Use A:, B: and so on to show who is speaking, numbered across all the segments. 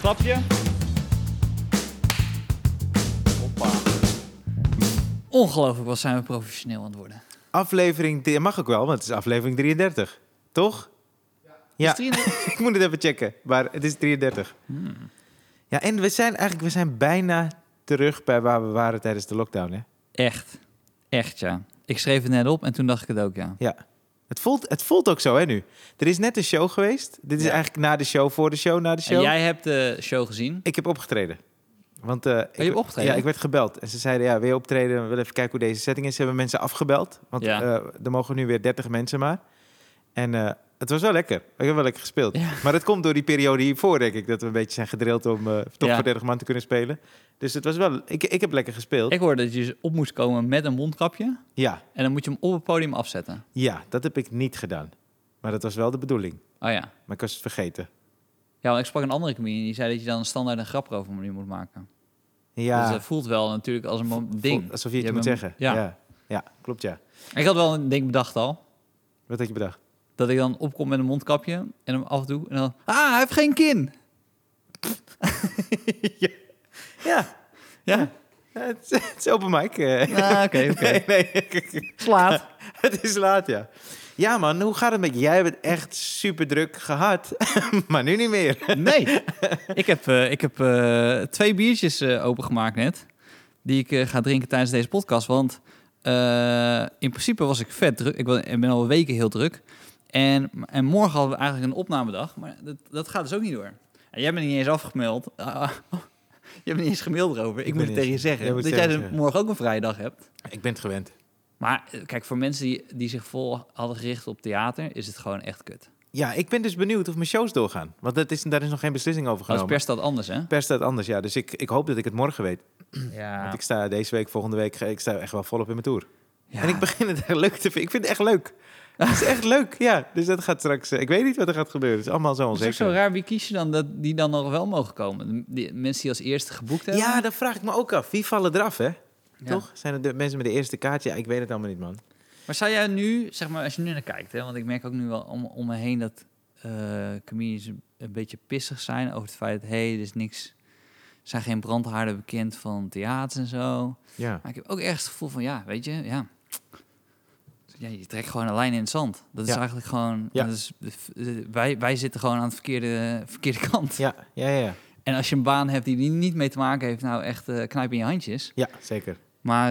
A: Snap je? Hoppa.
B: Ongelooflijk, wat zijn we professioneel aan het worden.
C: Aflevering... drie- Mag ook wel, want het is aflevering 33. Toch? Ja.
B: Is 33?
C: Ik moet het even checken, maar het is 33.
B: Hmm.
C: Ja, en we zijn eigenlijk we zijn bijna terug bij waar we waren tijdens de lockdown, hè?
B: Echt. Echt, ja. Ik schreef het net op en toen dacht ik het ook, ja.
C: Ja. Het voelt, het voelt ook zo, hè, nu. Er is net een show geweest. Dit is
B: Ja.
C: eigenlijk na de show, voor de show, na de
B: En
C: show.
B: jij hebt de show gezien.
C: Ik heb opgetreden. Want, eh, ik,
B: Oh, hebt opgetreden?
C: Ja, ik werd gebeld. En ze zeiden, ja, wil je optreden? We willen even kijken hoe deze setting is. Ze hebben mensen afgebeld. Want
B: Ja.
C: eh, er mogen nu weer 30 mensen maar. En eh, het was wel lekker. Ik heb wel lekker gespeeld.
B: Ja.
C: Maar dat komt door die periode hiervoor, denk ik. Dat we een beetje zijn gedrild om eh, toch
B: Ja.
C: voor 30 man te kunnen spelen. Dus het was wel... Ik, ik heb lekker gespeeld.
B: Ik hoorde dat je dus op moest komen met een mondkapje.
C: Ja,
B: En dan moet je hem op het podium afzetten.
C: ja, dat heb ik niet gedaan. Maar dat was wel de bedoeling.
B: Oh ja.
C: Maar ik was het vergeten.
B: Ja, want ik sprak een andere comedian die zei dat je dan standaard een grap erover nu moet maken.
C: Ja,
B: Dus dat voelt wel natuurlijk als een mom- ding.
C: Voelt alsof je het
B: Je
C: moet
B: hebt
C: zeggen.
B: hem- ja.
C: ja. Ja, klopt ja.
B: Ik had wel een ding bedacht al.
C: Wat had je bedacht?
B: Dat ik dan opkom met een mondkapje en hem afdoe. En dan, ah, hij heeft geen kin.
C: Ja,
B: Ja,
C: ja, het, is- het is open mic. eh.
B: Ah, oké, oké.
C: Nee, nee.
B: Slaat.
C: het is laat, ja. Ja, man, hoe gaat het met je? Jij hebt het echt super druk gehad, maar nu niet meer.
B: Nee, ik heb, eh, ik heb eh, twee biertjes eh, opengemaakt net. Die ik eh, ga drinken tijdens deze podcast. Want eh, in principe was ik vet druk. Ik wa- ik ben al weken heel druk. En, en morgen hadden we eigenlijk een opnamedag. Maar dat, dat gaat dus ook niet door. En jij bent niet eens afgemeld. Ah, jij bent niet eens gemaild erover. Ik,
C: ben
B: moet het
C: niet
B: tegen je
C: eens-
B: zeggen.
C: jij moet
B: dat
C: het
B: jij
C: tegen
B: dus
C: me
B: morgen ook een vrije dag hebt.
C: Ik ben het gewend.
B: Maar eh, kijk, voor mensen die, die zich vol hadden gericht op theater... is het gewoon echt kut.
C: Ja, ik ben dus benieuwd of mijn shows doorgaan. Want dat is, daar is nog geen beslissing over
B: Als
C: genomen.
B: per staat anders, hè?
C: Per staat anders, ja. Dus ik, ik hoop dat ik het morgen weet. Want ik sta deze week, volgende week, ik sta echt wel volop in mijn tour.
B: Ja.
C: En ik begin het echt leuk te vinden. Ik vind het echt leuk. Het is echt leuk, ja. Dus dat gaat straks... eh, Ik weet niet wat er gaat gebeuren. Het is allemaal zo
B: Het is ook
C: onzeker.
B: zo raar, wie kies je dan dat die dan nog wel mogen komen? Die mensen die als eerste geboekt hebben?
C: Ja, dat vraag ik me ook af. Wie vallen eraf, hè?
B: Ja.
C: Toch? Zijn het de mensen met de eerste kaart? Ja, ik weet het allemaal niet, man.
B: Maar zou jij nu, zeg maar, als je nu naar kijkt, hè, want ik merk ook nu wel om, om me heen dat eh comedians een- een beetje pissig zijn over het feit, hé, hey, er is niks, er zijn geen brandhaarden bekend van theater en zo.
C: Ja.
B: Maar ik heb ook ergens het gevoel van, ja, weet je, ja. Ja, je trekt gewoon een lijn in het zand. Dat is
C: Ja.
B: eigenlijk gewoon...
C: Ja.
B: Dat is, wij, wij zitten gewoon aan de verkeerde, verkeerde kant.
C: Ja, ja, ja. ja.
B: En als je een baan hebt die er niet mee te maken heeft... nou echt eh, knijp in je handjes.
C: Ja, zeker.
B: Maar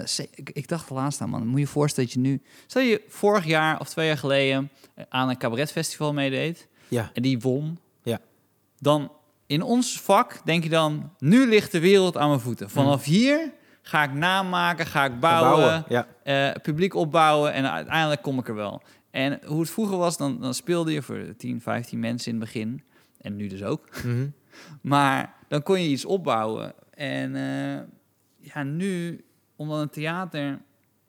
B: eh, ze- ik, ik dacht laatst aan, man. Moet je je voorstellen dat je nu... Stel je vorig jaar of twee jaar geleden eh, aan een cabaretfestival meedeed.
C: Ja.
B: En die won.
C: Ja.
B: Dan in ons vak denk je dan... Nu ligt de wereld aan mijn voeten. Vanaf
C: Mm.
B: hier ga ik namaken, ga ik bouwen,
C: Ja.
B: eh, publiek opbouwen. En uiteindelijk kom ik er wel. En hoe het vroeger was, dan, dan speelde je voor 10, 15 mensen in het begin. En nu dus ook.
C: Mhm.
B: Maar dan kon je iets opbouwen. En eh, ja, nu, omdat een theater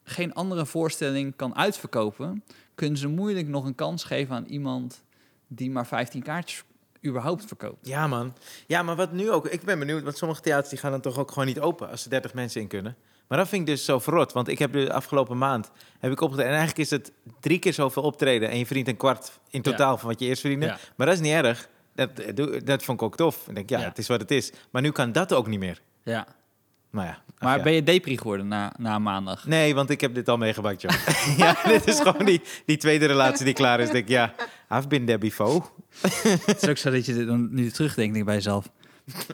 B: geen andere voorstelling kan uitverkopen, kunnen ze moeilijk nog een kans geven aan iemand die maar 15 kaartjes überhaupt verkoopt.
C: Ja, man. Ja, maar wat nu ook... Ik ben benieuwd, want sommige theaters die gaan dan toch ook gewoon niet open... als er 30 mensen in kunnen. Maar dat vind ik dus zo verrot. Want ik heb de afgelopen maand heb ik opgetreden... en eigenlijk is het drie keer zoveel optreden... en je verdient een kwart in
B: Ja.
C: totaal van wat je eerst verdiende.
B: Ja.
C: Maar dat is niet erg. Dat, eh, doe- dat vond ik ook tof. Ik denk, ja,
B: Ja.
C: het is wat het is. Maar nu kan dat ook niet meer.
B: Ja.
C: Maar ja. ach
B: Maar
C: ja.
B: ben je depri geworden na, na maandag?
C: Nee, want ik heb dit al meegemaakt, joh. ja, dit is gewoon die, die tweede relatie die klaar is. Denk ik, ja, I've been there before.
B: Het is ook zo dat je dit dan nu terugdenkt denk ik bij jezelf.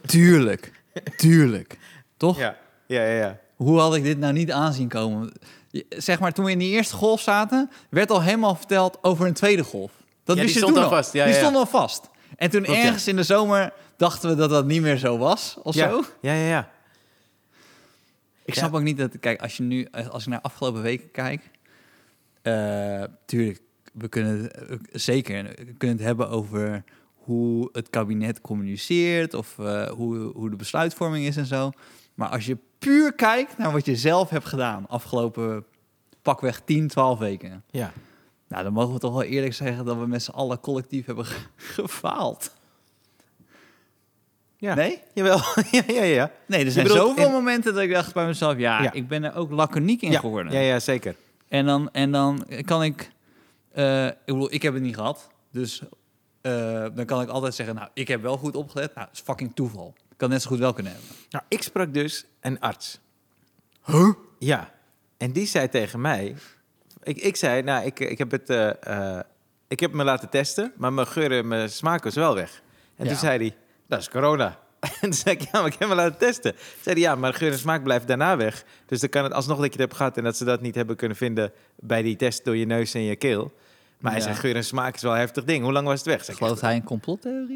B: Tuurlijk, tuurlijk. Toch?
C: Ja, ja, ja. ja.
B: Hoe had ik dit nou niet aanzien komen? Je- Zeg maar, toen we in die eerste golf zaten, werd al helemaal verteld over een tweede golf. Dat
C: Ja,
B: wist
C: die
B: je
C: stond
B: toen
C: al vast. Ja,
B: die
C: ja, ja.
B: stond al vast. En toen
C: Klopt, ja.
B: ergens in de zomer dachten we dat dat niet meer zo was, of
C: ja.
B: zo.
C: Ja, ja, ja.
B: Ik
C: Ja.
B: snap ook niet dat... Kijk, als, je nu, als ik naar afgelopen weken kijk... eh, tuurlijk, we kunnen het eh, zeker we kunnen het hebben over hoe het kabinet communiceert... of eh, hoe, hoe de besluitvorming is en zo. Maar als je puur kijkt naar wat je zelf hebt gedaan... afgelopen pakweg 10, 12 weken...
C: Ja,
B: nou, dan mogen we toch wel eerlijk zeggen... dat we met z'n allen collectief hebben ge- gefaald.
C: Ja.
B: Nee?
C: jawel. ja, ja, ja.
B: Nee, er zijn
C: bedoelt
B: zoveel
C: in-
B: momenten dat ik dacht bij mezelf... ja,
C: Ja.
B: ik ben er ook laconiek in
C: ja.
B: geworden.
C: Ja, ja, zeker.
B: En dan, en dan kan ik... eh, ik bedoel, ik heb het niet gehad. Dus eh, dan kan ik altijd zeggen, nou, ik heb wel goed opgelet. Nou, dat is fucking toeval. Kan net zo goed wel kunnen hebben.
C: Nou, ik sprak dus een arts. Huh? Ja. En die zei tegen mij... Ik, ik zei, nou, ik, ik, heb het, eh, eh, ik heb me laten testen, maar mijn geur en mijn smaak was wel weg. En
B: Ja.
C: toen zei hij, dat is corona. En toen zei ik, ja, maar ik heb me laten testen. Toen zei hij, ja, maar geur en smaak blijft daarna weg. Dus dan kan het alsnog dat je het hebt gehad... en dat ze dat niet hebben kunnen vinden bij die test door je neus en je keel. Maar hij
B: Ja.
C: zei, geur en smaak is wel een heftig ding. Hoe lang was het weg? Zeg ik,
B: Gelooft hij in complottheorie?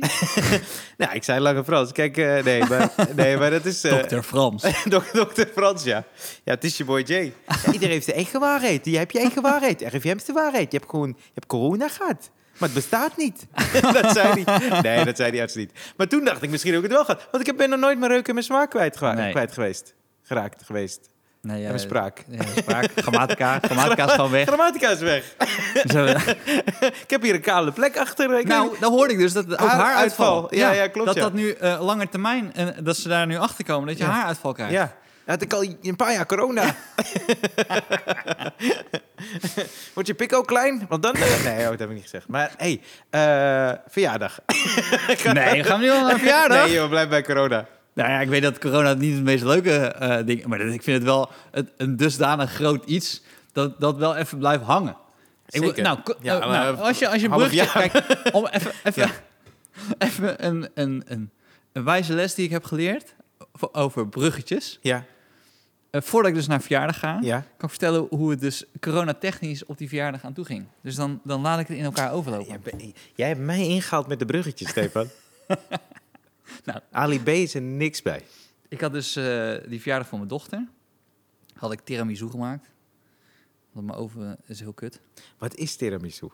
C: nou, ik zei lange Frans. Kijk, eh, nee, maar, nee, maar dat is... eh,
B: Dokter Frans.
C: Dok- Dokter Frans, ja. Ja, het is je boy Jay. Ja, iedereen heeft zijn eigen waarheid. Je hebt je eigen waarheid. RIVM is de waarheid. Je hebt gewoon je hebt corona gehad. Maar het bestaat niet. dat zei hij. Nee, dat zei die arts niet. Maar toen dacht ik misschien ook het wel gehad. Want ik ben nog nooit mijn reuk en mijn smaak kwijt,
B: Nee.
C: kwijt geweest. Geraakt geweest.
B: Nee,
C: en mijn spraak.
B: Ja, spraak. Grammatica. Grammatica is gewoon weg.
C: Grammatica is weg.
B: Zo,
C: Ik heb hier een kale plek achter. Ik weet
B: nou, dan hoorde ik dus dat ook
C: Haar-
B: haaruitval...
C: uitval. Ja, ja, klopt,
B: Dat
C: ja.
B: dat nu eh langer termijn... en dat ze daar nu achter komen dat je
C: Ja.
B: haaruitval
C: niet.
B: krijgt.
C: ja. Ja, had ik al een paar jaar corona. Wordt je pik ook klein? Want dan... Nee, oh, dat heb ik niet gezegd. Maar hey, eh, verjaardag.
B: Nee, gaan we nu al naar een verjaardag?
C: Nee, joh, blijf bij corona.
B: Nou ja, ik weet dat corona niet het meest leuke eh, ding is. Maar dat- ik vind het wel een, een dusdanig groot iets dat dat wel even blijft hangen. Ik wil-
C: Zeker.
B: nou, ko-
C: Ja,
B: eh,
C: maar,
B: nou,
C: eh,
B: als je, als je een
C: half
B: bruggetje... Kijk, om even, even, even een, een, een, een wijze les die ik heb geleerd vo- over bruggetjes.
C: Ja,
B: Eh, voordat ik dus naar verjaardag ga,
C: ja.
B: kan ik vertellen hoe het dus coronatechnisch op die verjaardag aan toe ging. Dus dan, dan laat ik het in elkaar overlopen.
C: Jij, ben- jij hebt mij ingehaald met de bruggetjes, Stefan.
B: Nou.
C: Ali B is er niks bij.
B: Ik had dus eh, die verjaardag van mijn dochter. Had ik tiramisu gemaakt. Want mijn oven is heel kut.
C: Wat is tiramisu?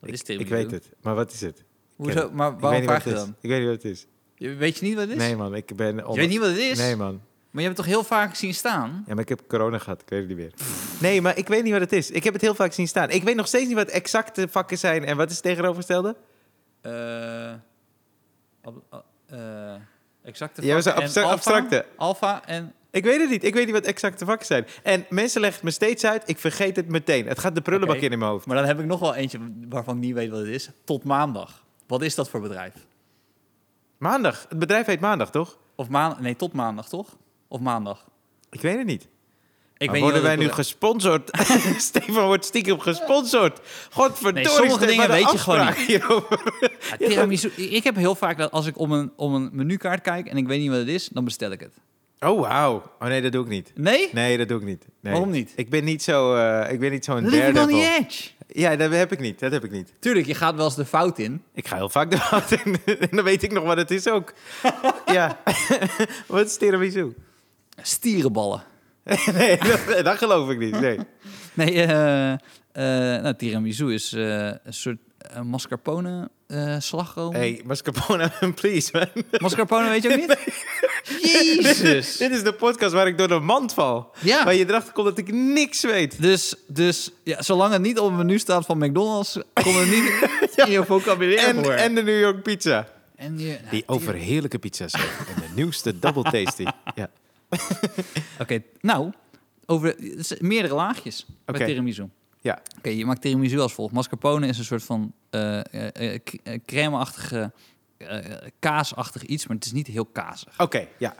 B: Dat
C: ik,
B: is tiramisu.
C: Ik weet het, maar wat is het? Ik ken
B: Hoezo?
C: het.
B: Maar
C: Ik weet
B: waarom
C: niet wat
B: vraag
C: het
B: je
C: is.
B: dan?
C: Ik weet niet wat het is.
B: Je- Weet je niet wat het is?
C: Nee man, ik ben...
B: Je weet niet wat het is?
C: Nee man.
B: Maar je hebt het toch heel vaak zien staan?
C: Ja, maar ik heb corona gehad, ik weet het niet meer. Nee, maar ik weet niet wat het is. Ik heb het heel vaak zien staan. Ik weet nog steeds niet wat exacte vakken zijn en wat is het tegenovergestelde?
B: Eh, ab- a- eh, exacte
C: Ja, we
B: vakken
C: zijn
B: en
C: abstra-
B: alfa.
C: abstracte.
B: Alfa en...
C: Ik weet het niet. Ik weet niet wat exacte vakken zijn. En mensen leggen het me steeds uit. Ik vergeet het meteen. Het gaat de prullenbak
B: Oké.
C: in in mijn hoofd.
B: Maar dan heb ik nog wel eentje waarvan ik niet weet wat het is. Tot maandag. Wat is dat voor bedrijf?
C: Maandag. Het bedrijf heet maandag, toch?
B: Of maandag... Nee, tot maandag, toch? Of maandag?
C: Ik weet het niet.
B: Ik
C: maar
B: niet
C: worden
B: wat
C: wij
B: het
C: nu
B: bedrijf-
C: gesponsord? Stefan wordt stiekem gesponsord. Godverdorie.
B: Nee, sommige
C: Stefan,
B: dingen
C: de
B: weet je gewoon
C: afspraak hierover.
B: Ja, tiramisu. Ik heb heel vaak dat als ik om een, om een menukaart kijk en ik weet niet wat het is, dan bestel ik het.
C: Oh, wauw. Oh nee, dat doe ik niet.
B: Nee?
C: Nee, dat doe ik niet. Nee.
B: Waarom niet?
C: Ik ben niet zo. eh, ik ben niet zo'n
B: Living on
C: daredevil.
B: the edge.
C: Ja, dat heb ik niet. Dat heb ik niet.
B: Tuurlijk, je gaat wel eens de fout in.
C: Ik ga heel vaak de fout in. En dan weet ik nog wat het is ook. ja. wat is tiramisu?
B: Stierenballen.
C: nee, dat, dat geloof ik niet. Nee.
B: Nee, eh, eh, nou, tiramisu is eh, een soort eh, mascarpone eh, slagroom.
C: Hey, mascarpone, please, man.
B: Mascarpone weet je ook niet? Jezus.
C: Dit is de podcast waar ik door de mand val.
B: Ja.
C: Waar je erachter komt dat ik niks weet.
B: Dus, dus ja, zolang het niet op het menu staat van McDonald's, komt het niet in je vocabulaire
C: En,
B: voor.
C: en de New York pizza.
B: En je- nou,
C: Die overheerlijke pizza's. en de nieuwste double tasty. Ja.
B: Oké, nou, over het is meerdere laagjes
C: Oké.
B: bij tiramisu. Oké,
C: Ja.
B: je maakt tiramisu als volgt. Mascarpone is een soort van eh eh, eh, k- eh, crème-achtige, eh, eh, kaasachtig iets, maar het is niet heel kaasig.
C: Oké, ja.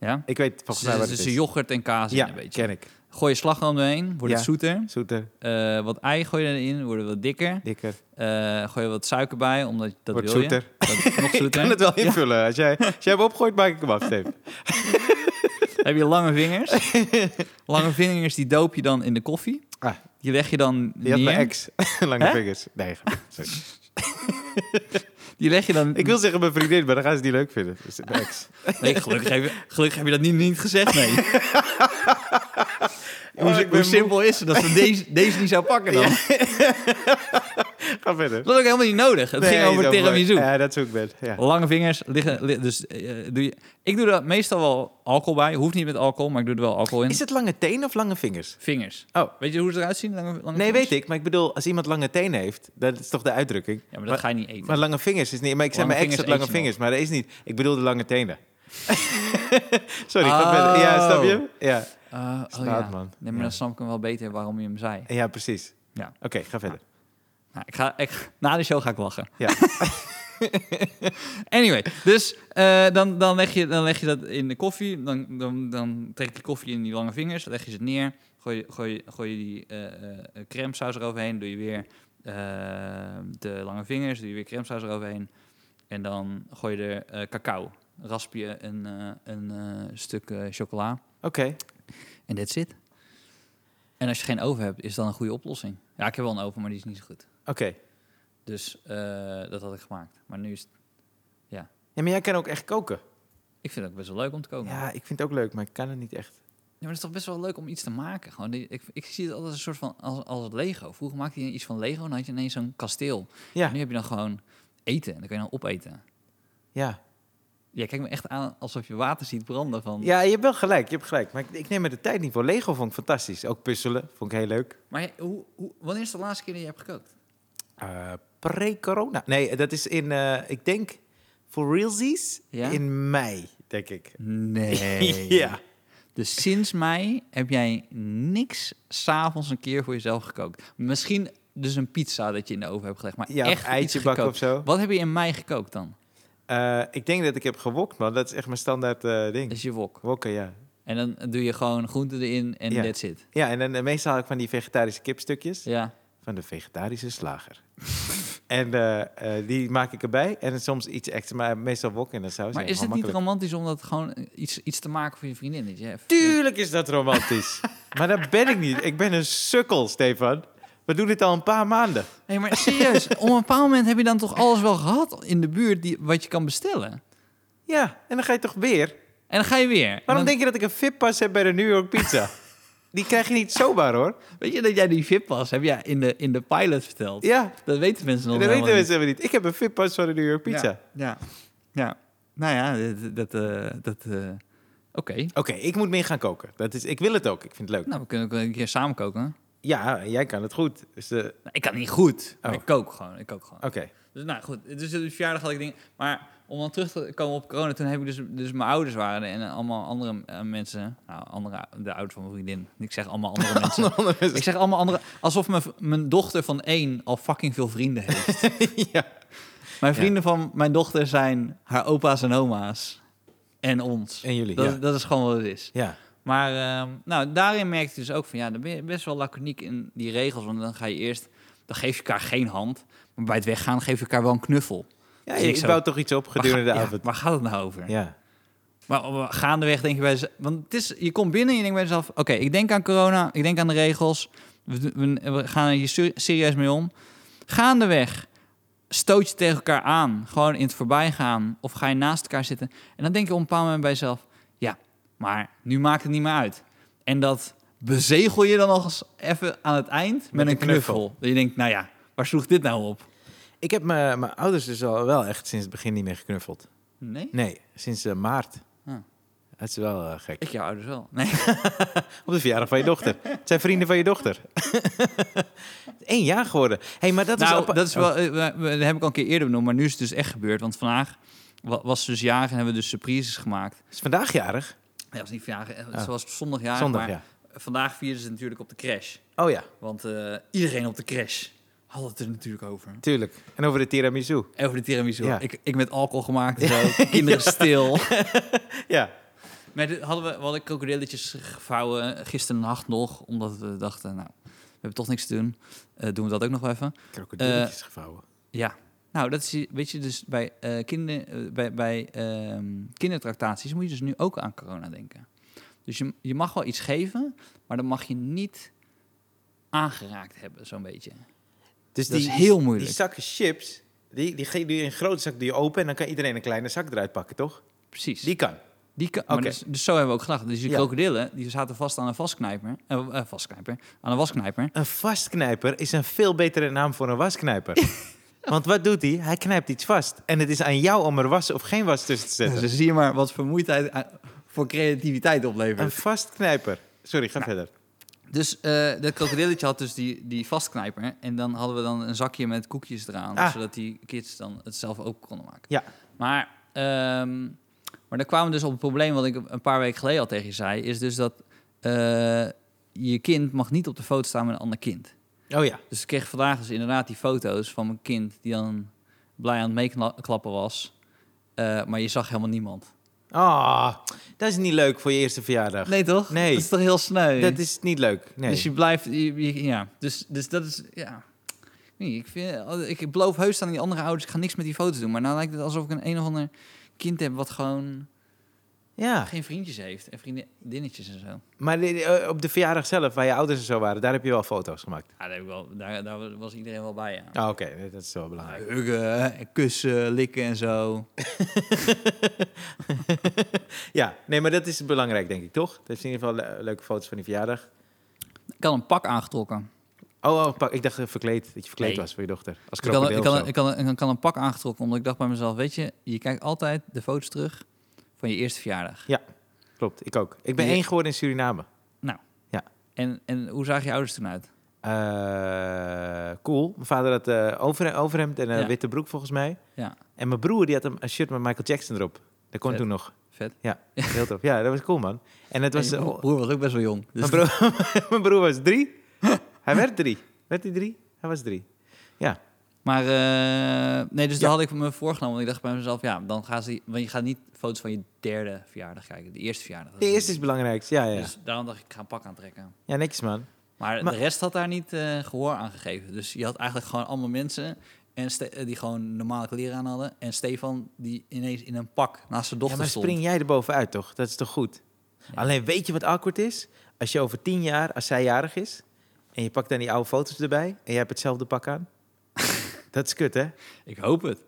B: Ja?
C: Ik weet
B: Dus
C: volgens mij
B: het is
C: wat het
B: tussen
C: is.
B: yoghurt en kaas in
C: Ja,
B: een beetje.
C: ken ik.
B: Gooi je slagroom erheen, wordt het
C: Ja.
B: zoeter.
C: Zoeter,
B: Eh, wat ei gooi je erin, wordt het wat dikker.
C: dikker,
B: Eh, gooi je wat suiker bij, omdat dat
C: wordt
B: wil
C: zoeter.
B: je. Dat, nog
C: Ik
B: zoeter.
C: kan het wel invullen. Als, jij, als jij hem opgooit, maak ik hem af, Steve.
B: Heb je lange vingers. lange vingers, die doop je dan in de koffie.
C: Ah.
B: Die leg je dan
C: Die had mijn
B: neer.
C: ex. Lange
B: Hè?
C: vingers. Nee, sorry.
B: Die leg je dan
C: Ik wil zeggen mijn vriendin, maar dan gaan ze het niet leuk vinden. Dus mijn ex.
B: Nee, gelukkig, heb je, gelukkig heb je dat niet, niet gezegd, nee.
C: Oh,
B: hoe
C: ik
B: si- hoe
C: ben moe.
B: simpel is het dat ze deze, deze niet zou pakken dan?
C: Ga verder.
B: Dat was ook helemaal niet nodig. Het ging over tiramisu. Oh,
C: Ja, dat is hoe ik ben. Ja.
B: Lange vingers liggen... li- dus, eh, doe je, ik doe er meestal wel alcohol bij. Hoeft niet met alcohol, maar ik doe er wel alcohol in.
C: Is het lange teen of lange vingers?
B: Vingers.
C: Oh.
B: Weet je hoe ze eruit zien? Lange, lange
C: Nee,
B: vingers?
C: weet ik. Maar ik bedoel, als iemand lange teen heeft, dat is toch de uitdrukking?
B: Ja, maar dat ga je niet eten.
C: Maar lange vingers is niet... Maar ik zei
B: Lange
C: mijn ex had
B: vingers
C: lange
B: eet je nog.
C: vingers, maar dat is niet... Ik bedoel de lange tenen. Sorry, ik had met-
B: Oh.
C: Ja, snap je? Ja,
B: Eh, oh
C: Staat,
B: ja.
C: man.
B: Nee, maar
C: Ja.
B: dan snap ik hem wel beter waarom je hem zei.
C: ja precies.
B: Ja.
C: Oké, ga verder.
B: Nou, ik ga, ik, na de show ga ik lachen.
C: Ja.
B: anyway, dus eh, dan, dan, leg je, dan leg je dat in de koffie. Dan, dan, dan trek je koffie in die lange vingers. Dan leg je ze neer. Gooi, je- gooi, je- gooi je die eh eh, crème saus eroverheen. Doe je weer eh, de lange vingers. Doe je weer crème saus eroverheen. En dan gooi je er eh, cacao. Rasp je een, eh, een eh, stuk eh, chocola.
C: Oké.
B: En that's it. En als je geen oven hebt, is dat een goede oplossing. Ja, ik heb wel een oven, maar die is niet zo goed.
C: Oké.
B: Dus eh, dat had ik gemaakt. Maar nu is het-
C: Ja, maar jij kan ook echt koken.
B: Ik vind het ook best wel leuk om te koken. Ja.
C: Ja, ik vind het ook leuk, maar ik kan het niet echt.
B: maar het is toch best wel leuk om iets te maken. Gewoon, die- ik, ik zie het altijd als een soort van als, als het Lego. Vroeger maakte je iets van Lego en dan had je ineens zo'n kasteel.
C: Ja,
B: Nu heb je dan gewoon eten. En dan kun je dan opeten.
C: ja.
B: Jij kijkt me echt aan alsof je water ziet branden van...
C: Ja, je hebt wel gelijk, je hebt gelijk. Maar ik, ik neem er de tijd niet voor. Lego vond ik fantastisch. Ook puzzelen vond ik heel leuk.
B: Maar jij- hoe, hoe, wanneer is de laatste keer dat je hebt gekookt?
C: Eh, Pre-corona. Nee, dat is in, eh, ik denk, voor realsies,
B: Ja?
C: in mei, denk ik.
B: Nee.
C: ja.
B: Dus sinds mei heb jij niks s'avonds een keer voor jezelf gekookt. Misschien dus een pizza dat je in de oven hebt gelegd. Maar
C: Ja,
B: echt
C: of eitje
B: iets gekookt.
C: bakken of zo.
B: Wat heb je in mei gekookt dan?
C: Eh, ik denk dat ik heb gewokt, man. Dat is echt mijn standaard eh,
B: Dat
C: ding.
B: is je wok.
C: Wokken, ja.
B: En dan doe je gewoon groenten erin en
C: Ja.
B: that's it.
C: Ja, en dan eh, meestal haal ik van die vegetarische kipstukjes.
B: Ja.
C: Van de vegetarische slager. en eh, eh, die maak ik erbij. En dan soms iets extra, maar meestal wok in de saus.
B: Maar
C: Ja,
B: is het
C: gewoon
B: niet
C: makkelijk.
B: romantisch om dat gewoon iets, iets te maken voor je vriendin? Dat je even-
C: Tuurlijk is dat romantisch. maar dat ben ik niet. Ik ben een sukkel, Stefan. We doen dit al een paar maanden.
B: Nee, maar serieus. op een bepaald moment heb je dan toch alles wel gehad in de buurt die, wat je kan bestellen.
C: Ja, en dan ga je toch weer.
B: En dan ga je weer. En
C: Waarom
B: dan-
C: denk je dat ik een VIP-pas heb bij de New York Pizza? die krijg je niet zomaar, hoor.
B: Weet je dat jij die VIP-pas heb jij in de, in de pilot verteld?
C: Ja,
B: Dat weten mensen nog
C: dat
B: niet.
C: weten mensen helemaal niet. Ik heb een VIP-pas van de New York Pizza.
B: Ja, ja. ja. Nou ja, dat... dat, eh, dat eh, Oké.
C: Oké, ik moet meer gaan koken. Dat is, ik wil het ook. Ik vind het leuk.
B: Nou, we kunnen ook een keer samen koken.
C: Ja, jij kan het goed. Dus, eh,
B: Nou, ik kan niet goed. maar
C: Oh.
B: ik kook gewoon. Ik kook gewoon.
C: Oké.
B: Dus nou goed, dus op de verjaardag had ik dingen. Maar om dan terug te komen op corona, toen heb ik dus, dus mijn ouders waren er en eh, allemaal andere eh, mensen. Nou, andere, de ouders van mijn vriendin. Ik zeg allemaal andere mensen. Ik zeg allemaal andere. Alsof mijn, v- mijn dochter van één al fucking veel vrienden heeft.
C: ja.
B: Mijn vrienden van mijn dochter zijn haar opa's en oma's. En ons.
C: En jullie,
B: Dat,
C: ja.
B: dat is gewoon wat het is.
C: Ja.
B: Maar ehm, nou, daarin merkte ik dus ook van ja, dan ben je best wel laconiek in die regels. Want dan ga je eerst, dan geef je elkaar geen hand. Maar bij het weggaan geef je elkaar wel een knuffel.
C: ja
B: Dus
C: je
B: ik zo-
C: bouwt toch iets op gedurende de
B: Waar ga- ja,
C: avond.
B: waar gaat het nou over?
C: Ja.
B: Maar op- gaandeweg denk je bij jezelf... Want het is, je komt binnen en je denkt bij jezelf... Oké, ik denk aan corona, ik denk aan de regels. We, do- we, we gaan er hier ser- serieus mee om. Gaandeweg stoot je tegen elkaar aan. Gewoon in het voorbijgaan. Of ga je naast elkaar zitten. En dan denk je op een bepaald moment bij jezelf... Ja, maar nu maakt het niet meer uit. En dat bezegel je dan nog eens even aan het eind met,
C: een
B: een knuffel.
C: knuffel.
B: Dat je denkt, nou ja, waar sloeg dit nou op?
C: Ik heb mijn mijn ouders dus al wel echt sinds het begin niet meer geknuffeld.
B: Nee?
C: Nee, sinds eh, maart.
B: Ah.
C: Dat is wel eh, gek.
B: Ik jouw ouders wel. Nee.
C: Op de verjaardag van je dochter. Het zijn vrienden van je dochter. Eén jaar geworden. hey, maar dat is...
B: nou,
C: apart-
B: dat is wel, eh, we- we- dat heb ik al een keer eerder benoemd, maar nu is het dus echt gebeurd. Want vandaag wa- was ze dus jarig en hebben we dus surprises gemaakt.
C: Oh, is vandaag jarig?
B: Ja, dat was niet vandaag, eh,
C: Ah.
B: ze was zondag jarig,
C: Zondag,
B: maar
C: ja.
B: vandaag vierden ze natuurlijk op de crash.
C: Oh ja,
B: Want eh, iedereen op de crash had het er natuurlijk over.
C: tuurlijk. En over de tiramisu.
B: En Over de tiramisu.
C: Ja.
B: Ik, ik met alcohol gemaakt en zo, kinderen stil.
C: Ja.
B: Maar dit hadden we, we hadden krokodilletjes gevouwen gisterennacht nog, omdat we dachten, nou, we hebben toch niks te doen. Eh, doen we dat ook nog wel even.
C: Krokodilletjes
B: Eh,
C: gevouwen.
B: Ja. Nou, dat is, weet je, dus bij, eh kinder, eh, bij, bij ehm, kindertractaties moet je dus nu ook aan corona denken. Dus je, je mag wel iets geven, maar dat mag je niet aangeraakt hebben, zo'n beetje.
C: Dus
B: Dat is heel moeilijk.
C: Die zakken chips, die, die, ge- doe je in een grote zak doe je open... en dan kan iedereen een kleine zak eruit pakken, toch?
B: Precies.
C: Die kan.
B: Die kan, maar
C: Oké.
B: dus, dus zo hebben we ook gedacht. Dus die
C: Ja.
B: krokodillen, die zaten vast aan een vastknijper. eh, eh, vastknijper. Aan een wasknijper.
C: Een vastknijper is een veel betere naam voor een wasknijper. Want wat doet hij? Hij knijpt iets vast. En het is aan jou om er was of geen was tussen te zetten.
B: dus zie je maar wat vermoeidheid eh, voor creativiteit oplevert.
C: Een vastknijper. Sorry, ga verder.
B: Dus eh, dat krokodilletje had dus die, die vastknijper. En dan hadden we dan een zakje met koekjes eraan.
C: Ah.
B: Zodat die kids dan het zelf ook konden maken.
C: Ja.
B: Maar, ehm, maar dan kwamen we dus op het probleem wat ik een paar weken geleden al tegen je zei. Is dus dat eh, je kind mag niet op de foto staan met een ander kind.
C: Oké. Oh ja.
B: Dus ik kreeg vandaag dus inderdaad die foto's van mijn kind die dan blij aan het meeklappen was. Eh, maar je zag helemaal niemand.
C: Ah, dat is niet leuk voor je eerste verjaardag.
B: Nee, toch?
C: Nee.
B: Dat is toch heel sneu?
C: Dat is niet leuk. Nee.
B: Dus je blijft... je- je- ja, dus, dus dat is... Ja. Nee, ik, vind, ik beloof heus aan die andere ouders, ik ga niks met die foto's doen. Maar nou lijkt het alsof ik een een of ander kind heb wat gewoon
C: Ja,
B: geen vriendjes heeft. En vriendinnetjes en zo. Ah,
C: maar eh, op de verjaardag zelf, waar je ouders en zo waren, daar heb je wel foto's gemaakt.
B: Ja, daar, heb ik wel, daar, daar was iedereen wel bij, ja.
C: Ah, Oké, dat is wel belangrijk.
B: Huggen, en kussen, likken en zo.
C: Ja, nee, maar dat is belangrijk, denk ik, toch? Dat is in ieder geval le- leuke foto's van die verjaardag.
B: Ik had een pak aangetrokken.
C: Oh, oh pak. ik dacht eh, verkleed, dat je verkleed
B: Nee.
C: was voor je dochter. Als
B: Ik had,
C: krokodil
B: ik,
C: of
B: had,
C: zo.
B: ik, had, ik had een pak aangetrokken, omdat ik dacht bij mezelf, weet je, je kijkt altijd de foto's terug van je eerste verjaardag.
C: Klopt, ik ook. Ik ben
B: Je-
C: één geworden in Suriname.
B: En, en hoe zagen je ouders toen uit?
C: Eh, cool. Mijn vader had eh over, overhemd en een
B: Ja.
C: witte broek, volgens mij.
B: Ja.
C: En mijn broer die had een, een shirt met Michael Jackson erop. Dat kon
B: Vet.
C: toen nog.
B: Vet.
C: Heel tof. Ja, dat was cool, man. En het was...
B: En je
C: eh,
B: broer- broer was ook best wel jong. Dus
C: Mijn broer, mijn broer was drie. Hij werd drie. Werd hij drie? Hij was drie.
B: Maar eh, nee, dus
C: Ja.
B: daar had ik me voorgenomen. Want ik dacht bij mezelf, ja, dan gaan ze. Want je gaat niet foto's van je derde verjaardag kijken, de eerste verjaardag.
C: De eerste is belangrijk. Ja, ja.
B: Dus daarom dacht ik, ik ga een pak aantrekken.
C: ja, niks man.
B: Maar,
C: Maar-
B: de rest had daar niet eh, gehoor aan gegeven. Dus je had eigenlijk gewoon allemaal mensen en Ste- eh, die gewoon normale kleren aan hadden. En Stefan die ineens in een pak naast zijn
C: Ja,
B: dochter
C: maar
B: stond.
C: spring jij er bovenuit, toch? Dat is toch goed? Alleen weet je wat awkward is? Als je over tien jaar, als zij jarig is... en je pakt dan die oude foto's erbij... en jij hebt hetzelfde pak aan. dat is kut, hè?
B: Ik hoop het.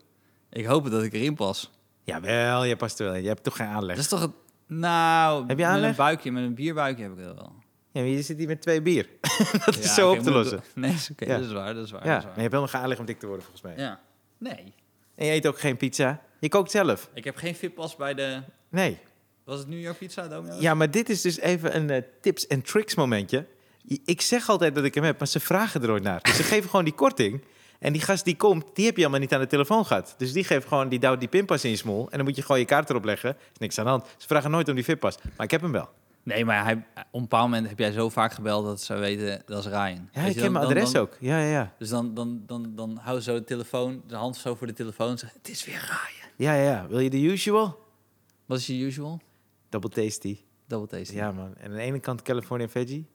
B: Ik hoop het dat ik erin pas.
C: Jawel, jij past er wel in. Je hebt toch geen aanleg?
B: Dat is toch het... Nou,
C: Heb je
B: met
C: aanleg?
B: een buikje, met een bierbuikje heb ik dat wel.
C: Ja, maar je zit hier met twee bier. dat
B: Ja,
C: is zo
B: oké, moet
C: op te
B: ik-
C: lossen.
B: Nee, is oké,
C: Ja.
B: dat is waar, dat is waar.
C: Ja, maar
B: dat
C: je
B: is
C: hebt
B: waar.
C: helemaal geen aanleg om dik te worden, volgens mij.
B: ja. Nee.
C: En je eet ook geen pizza. Je kookt zelf.
B: Ik heb geen fitpas bij de...
C: Nee.
B: Was het New York Pizza, Domino's?
C: Ja, maar dit is dus even een eh, tips en tricks momentje. I- Ik zeg altijd dat ik hem heb, maar ze vragen er ooit naar. Dus ze geven gewoon die korting. En die gast die komt, die heb je allemaal niet aan de telefoon gehad. Dus die geeft gewoon, die duwt die pinpas in je smoel. En dan moet je gewoon je kaart erop leggen. Er is niks aan de hand. Ze vragen nooit om die fitpas. Maar ik heb hem wel.
B: Nee, maar hij, op een bepaald moment heb jij zo vaak gebeld dat ze weten, dat is Ryan.
C: Ja,
B: Weet
C: ik
B: je,
C: ken
B: dan-
C: mijn
B: dan-
C: adres
B: dan-
C: ook. Ja, ja, ja.
B: Dus dan, dan, dan, dan hou zo de telefoon, de hand zo voor de telefoon en zeg, het is weer Ryan.
C: Ja, ja, ja. Wil je de usual?
B: Wat is je usual?
C: Double tasty.
B: Double tasty.
C: Ja, man. En aan de ene kant California Veggie.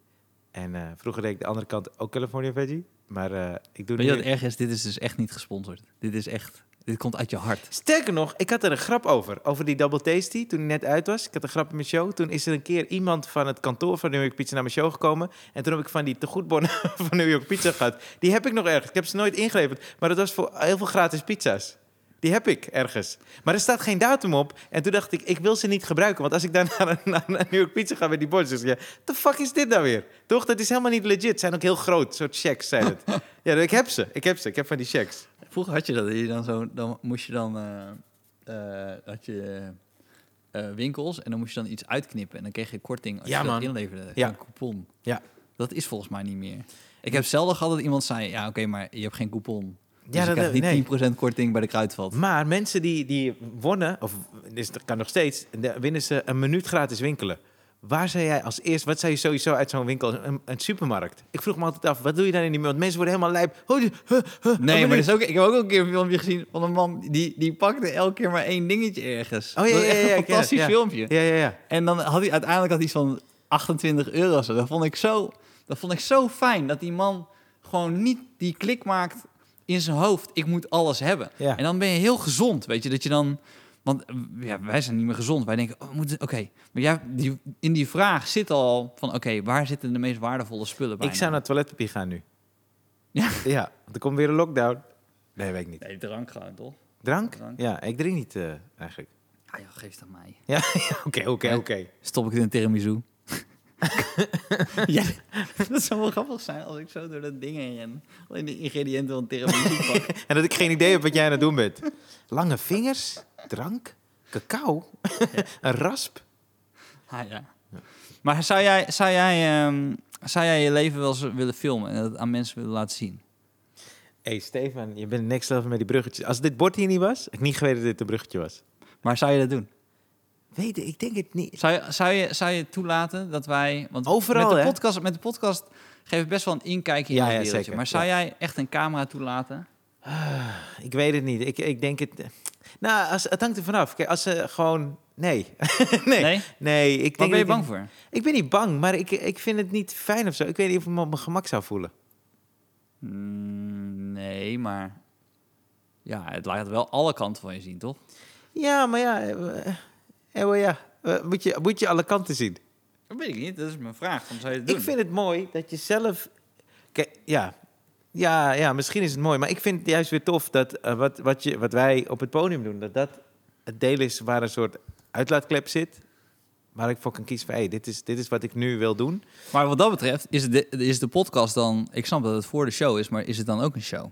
C: En eh, vroeger deed ik de andere kant ook California Veggie. Maar eh, ik doe
B: Weet je
C: nu...
B: wat erg is? Dit is dus echt niet gesponsord. Dit is echt... Dit komt uit je hart.
C: Sterker nog, ik had er een grap over. Over die Double Tasty, toen die net uit was. Ik had een grap in mijn show. Toen is er een keer iemand van het kantoor van New York Pizza naar mijn show gekomen. En toen heb ik van die tegoedbonnen van New York Pizza gehad. Die heb ik nog ergens. Ik heb ze nooit ingeleverd. Maar dat was voor heel veel gratis pizza's. Die heb ik ergens. Maar er staat geen datum op. En toen dacht ik, ik wil ze niet gebruiken. Want als ik daarna naar, naar, naar New York Pizza ga met die bordjes... Ja, the fuck is dit nou weer? Toch, dat is helemaal niet legit. Ze zijn ook heel groot. Soort checks zijn het. ja, ik heb ze. Ik heb ze. Ik heb van die checks.
B: Dus Vroeger had je dat, dat je dan zo, dan moest je dan, eh, eh, had je eh, winkels en dan moest je dan iets uitknippen en dan kreeg je korting als
C: Ja,
B: je dat
C: man.
B: inleverde,
C: Ja.
B: een coupon.
C: Ja.
B: Dat is volgens mij niet meer. Ik heb zelden gehad dat iemand zei, ja oké, maar je hebt geen coupon. Dus ja, je
C: dat-
B: krijgt niet
C: nee.
B: 10% korting bij de kruidvat.
C: Maar mensen die, die wonnen, of dus dat kan nog steeds, de- winnen ze een minuut gratis winkelen. Waar zou jij als eerst, wat zou je sowieso uit zo'n winkel, een, een supermarkt? Ik vroeg me altijd af, wat doe je dan in die Want mensen worden helemaal lijp. Oh, die- huh, huh, een
B: Nee, maar
C: minuut.
B: er is ook, ik heb ook een keer een filmpje gezien van een man die, die pakte elke keer maar één dingetje ergens.
C: Oh,
B: Dat
C: ja,
B: was
C: ja, ja,
B: echt
C: ja,
B: een
C: ik ken
B: fantastisch
C: het,
B: filmpje.
C: Ja, ja, ja.
B: En dan had hij uiteindelijk had hij iets van 28 euro. of Zo. Dat, vond ik zo, dat vond ik zo fijn. Dat die man gewoon niet die klik maakt in zijn hoofd. Ik moet alles hebben.
C: Ja.
B: En dan ben je heel gezond. Weet je, dat je dan... Want eh, ja, wij zijn niet meer gezond. Wij denken, oh, we moeten... Oké, maar jij, die, in die vraag zit al van... Oké, waar zitten de meest waardevolle spullen bij?
C: Ik zou naar toiletpapier gaan nu.
B: Ja.
C: Ja, want er komt weer een lockdown. Nee, weet ik niet.
B: Nee, drank gewoon, toch?
C: Drank?
B: Drank.
C: Ja, ik drink niet eh, eigenlijk.
B: Ah joh, geef het aan mij.
C: Ja, ja, oké, oké,
B: Ja.
C: oké.
B: Stop ik het in een tiramisu? ja, dat zou wel grappig zijn als ik zo door dat ding heen ren. Alleen de ingrediënten van tiramisu pak.
C: En dat ik geen idee heb wat jij aan het doen bent. Lange vingers, drank, cacao, een rasp.
B: Ah, ja. Maar zou jij, zou, jij, ehm, zou jij je leven wel eens willen filmen en dat aan mensen willen laten zien?
C: Hé hey Stefan, je bent next level met die bruggetjes. Als dit bord hier niet was, had ik niet geweten dat dit een bruggetje was.
B: Maar zou je dat doen?
C: Weet ik, ik denk het niet.
B: Zou je, zou je, zou je toelaten dat wij... Want
C: Overal,
B: met de
C: hè?
B: podcast, Met de podcast geven best wel een inkijkje in
C: Ja,
B: dat
C: ja,
B: wereldje.
C: zeker,
B: Maar zou
C: ja.
B: jij echt een camera toelaten?
C: Ik weet het niet. Ik, ik denk het... Nou, als, het hangt er vanaf. Kijk, als ze gewoon... Nee. nee.
B: Nee?
C: Nee,
B: Waar
C: ik denk
B: ben je
C: dat
B: bang
C: ik-
B: voor?
C: Ik ben niet bang, maar ik, ik vind het niet fijn of zo. Ik weet niet of ik me op mijn gemak zou voelen.
B: Mm, nee, maar... Ja, het laat wel alle kanten van je zien, toch?
C: Ja, maar ja... eh, eh, eh, ja. Eh, moet, je, moet je alle kanten zien.
B: Dat weet ik niet. Dat is mijn vraag. Waarom zou je het doen?
C: Ik vind het mooi dat je zelf... Kijk, ja. Ja, ja, misschien is het mooi. Maar ik vind het juist weer tof dat eh, wat, wat, je, wat wij op het podium doen... dat dat het deel is waar een soort uitlaatklep zit... waar ik voor kan kiezen van... hé, dit, is, dit is wat ik nu wil doen.
B: Maar wat dat betreft, is de, is de podcast dan... Ik snap dat het voor de show is, maar is het dan ook een show?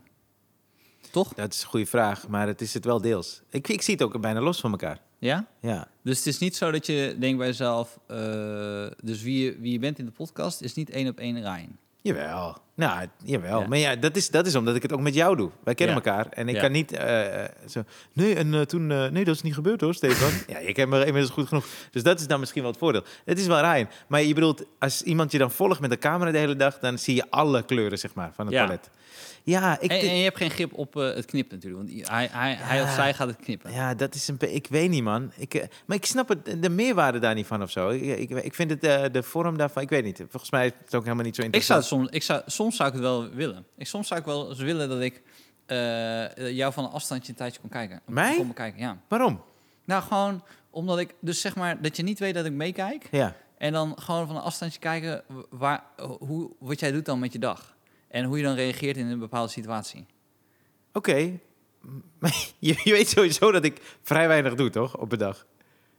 B: Toch?
C: Dat is een goede vraag, maar het is het wel deels. Ik, ik zie het ook bijna los van elkaar.
B: Ja?
C: Ja.
B: Dus het is niet zo dat je denkt bij jezelf... eh, dus wie je, wie je bent in de podcast is niet één op één Ryan.
C: Jawel. Nou, jawel.
B: Ja.
C: Maar ja, dat is, dat is omdat ik het ook met jou doe. Wij kennen
B: Ja.
C: elkaar. En ik
B: Ja.
C: kan niet eh, eh, zo... Nee, en eh, toen... eh, nee, dat is niet gebeurd hoor, Stefan. ja, ik heb me inmiddels goed genoeg. Dus dat is dan misschien wel het voordeel. Het is wel Ryan. Maar je bedoelt, als iemand je dan volgt met de camera de hele dag... dan zie je alle kleuren, zeg maar, van het
B: Ja.
C: palet. Ja, ik...
B: En, en je hebt geen grip op eh, het knip natuurlijk. Want hij, hij, hij of
C: Ja.
B: zij gaat het knippen.
C: Ja, dat is een... be- Ik weet niet, man. Ik, eh, maar ik snap het, de meerwaarde daar niet van of zo. Ik, ik, ik vind het, eh, de vorm daarvan... Ik weet niet. Volgens mij is het ook helemaal niet zo
B: Ik zou
C: interessant.
B: het soms, ik zou, soms zou ik het wel willen. Ik, soms zou ik wel eens willen dat ik eh, jou van een afstandje een tijdje kon kijken.
C: Mij?
B: Kon bekijken, ja.
C: Waarom?
B: Nou, gewoon omdat ik, dus zeg maar, dat je niet weet dat ik meekijk.
C: Ja.
B: En dan gewoon van een afstandje kijken wa- waar, hoe, wat jij doet dan met je dag. En hoe je dan reageert in een bepaalde situatie.
C: Oké. Maar je, je weet sowieso dat ik vrij weinig doe, toch? Op een dag.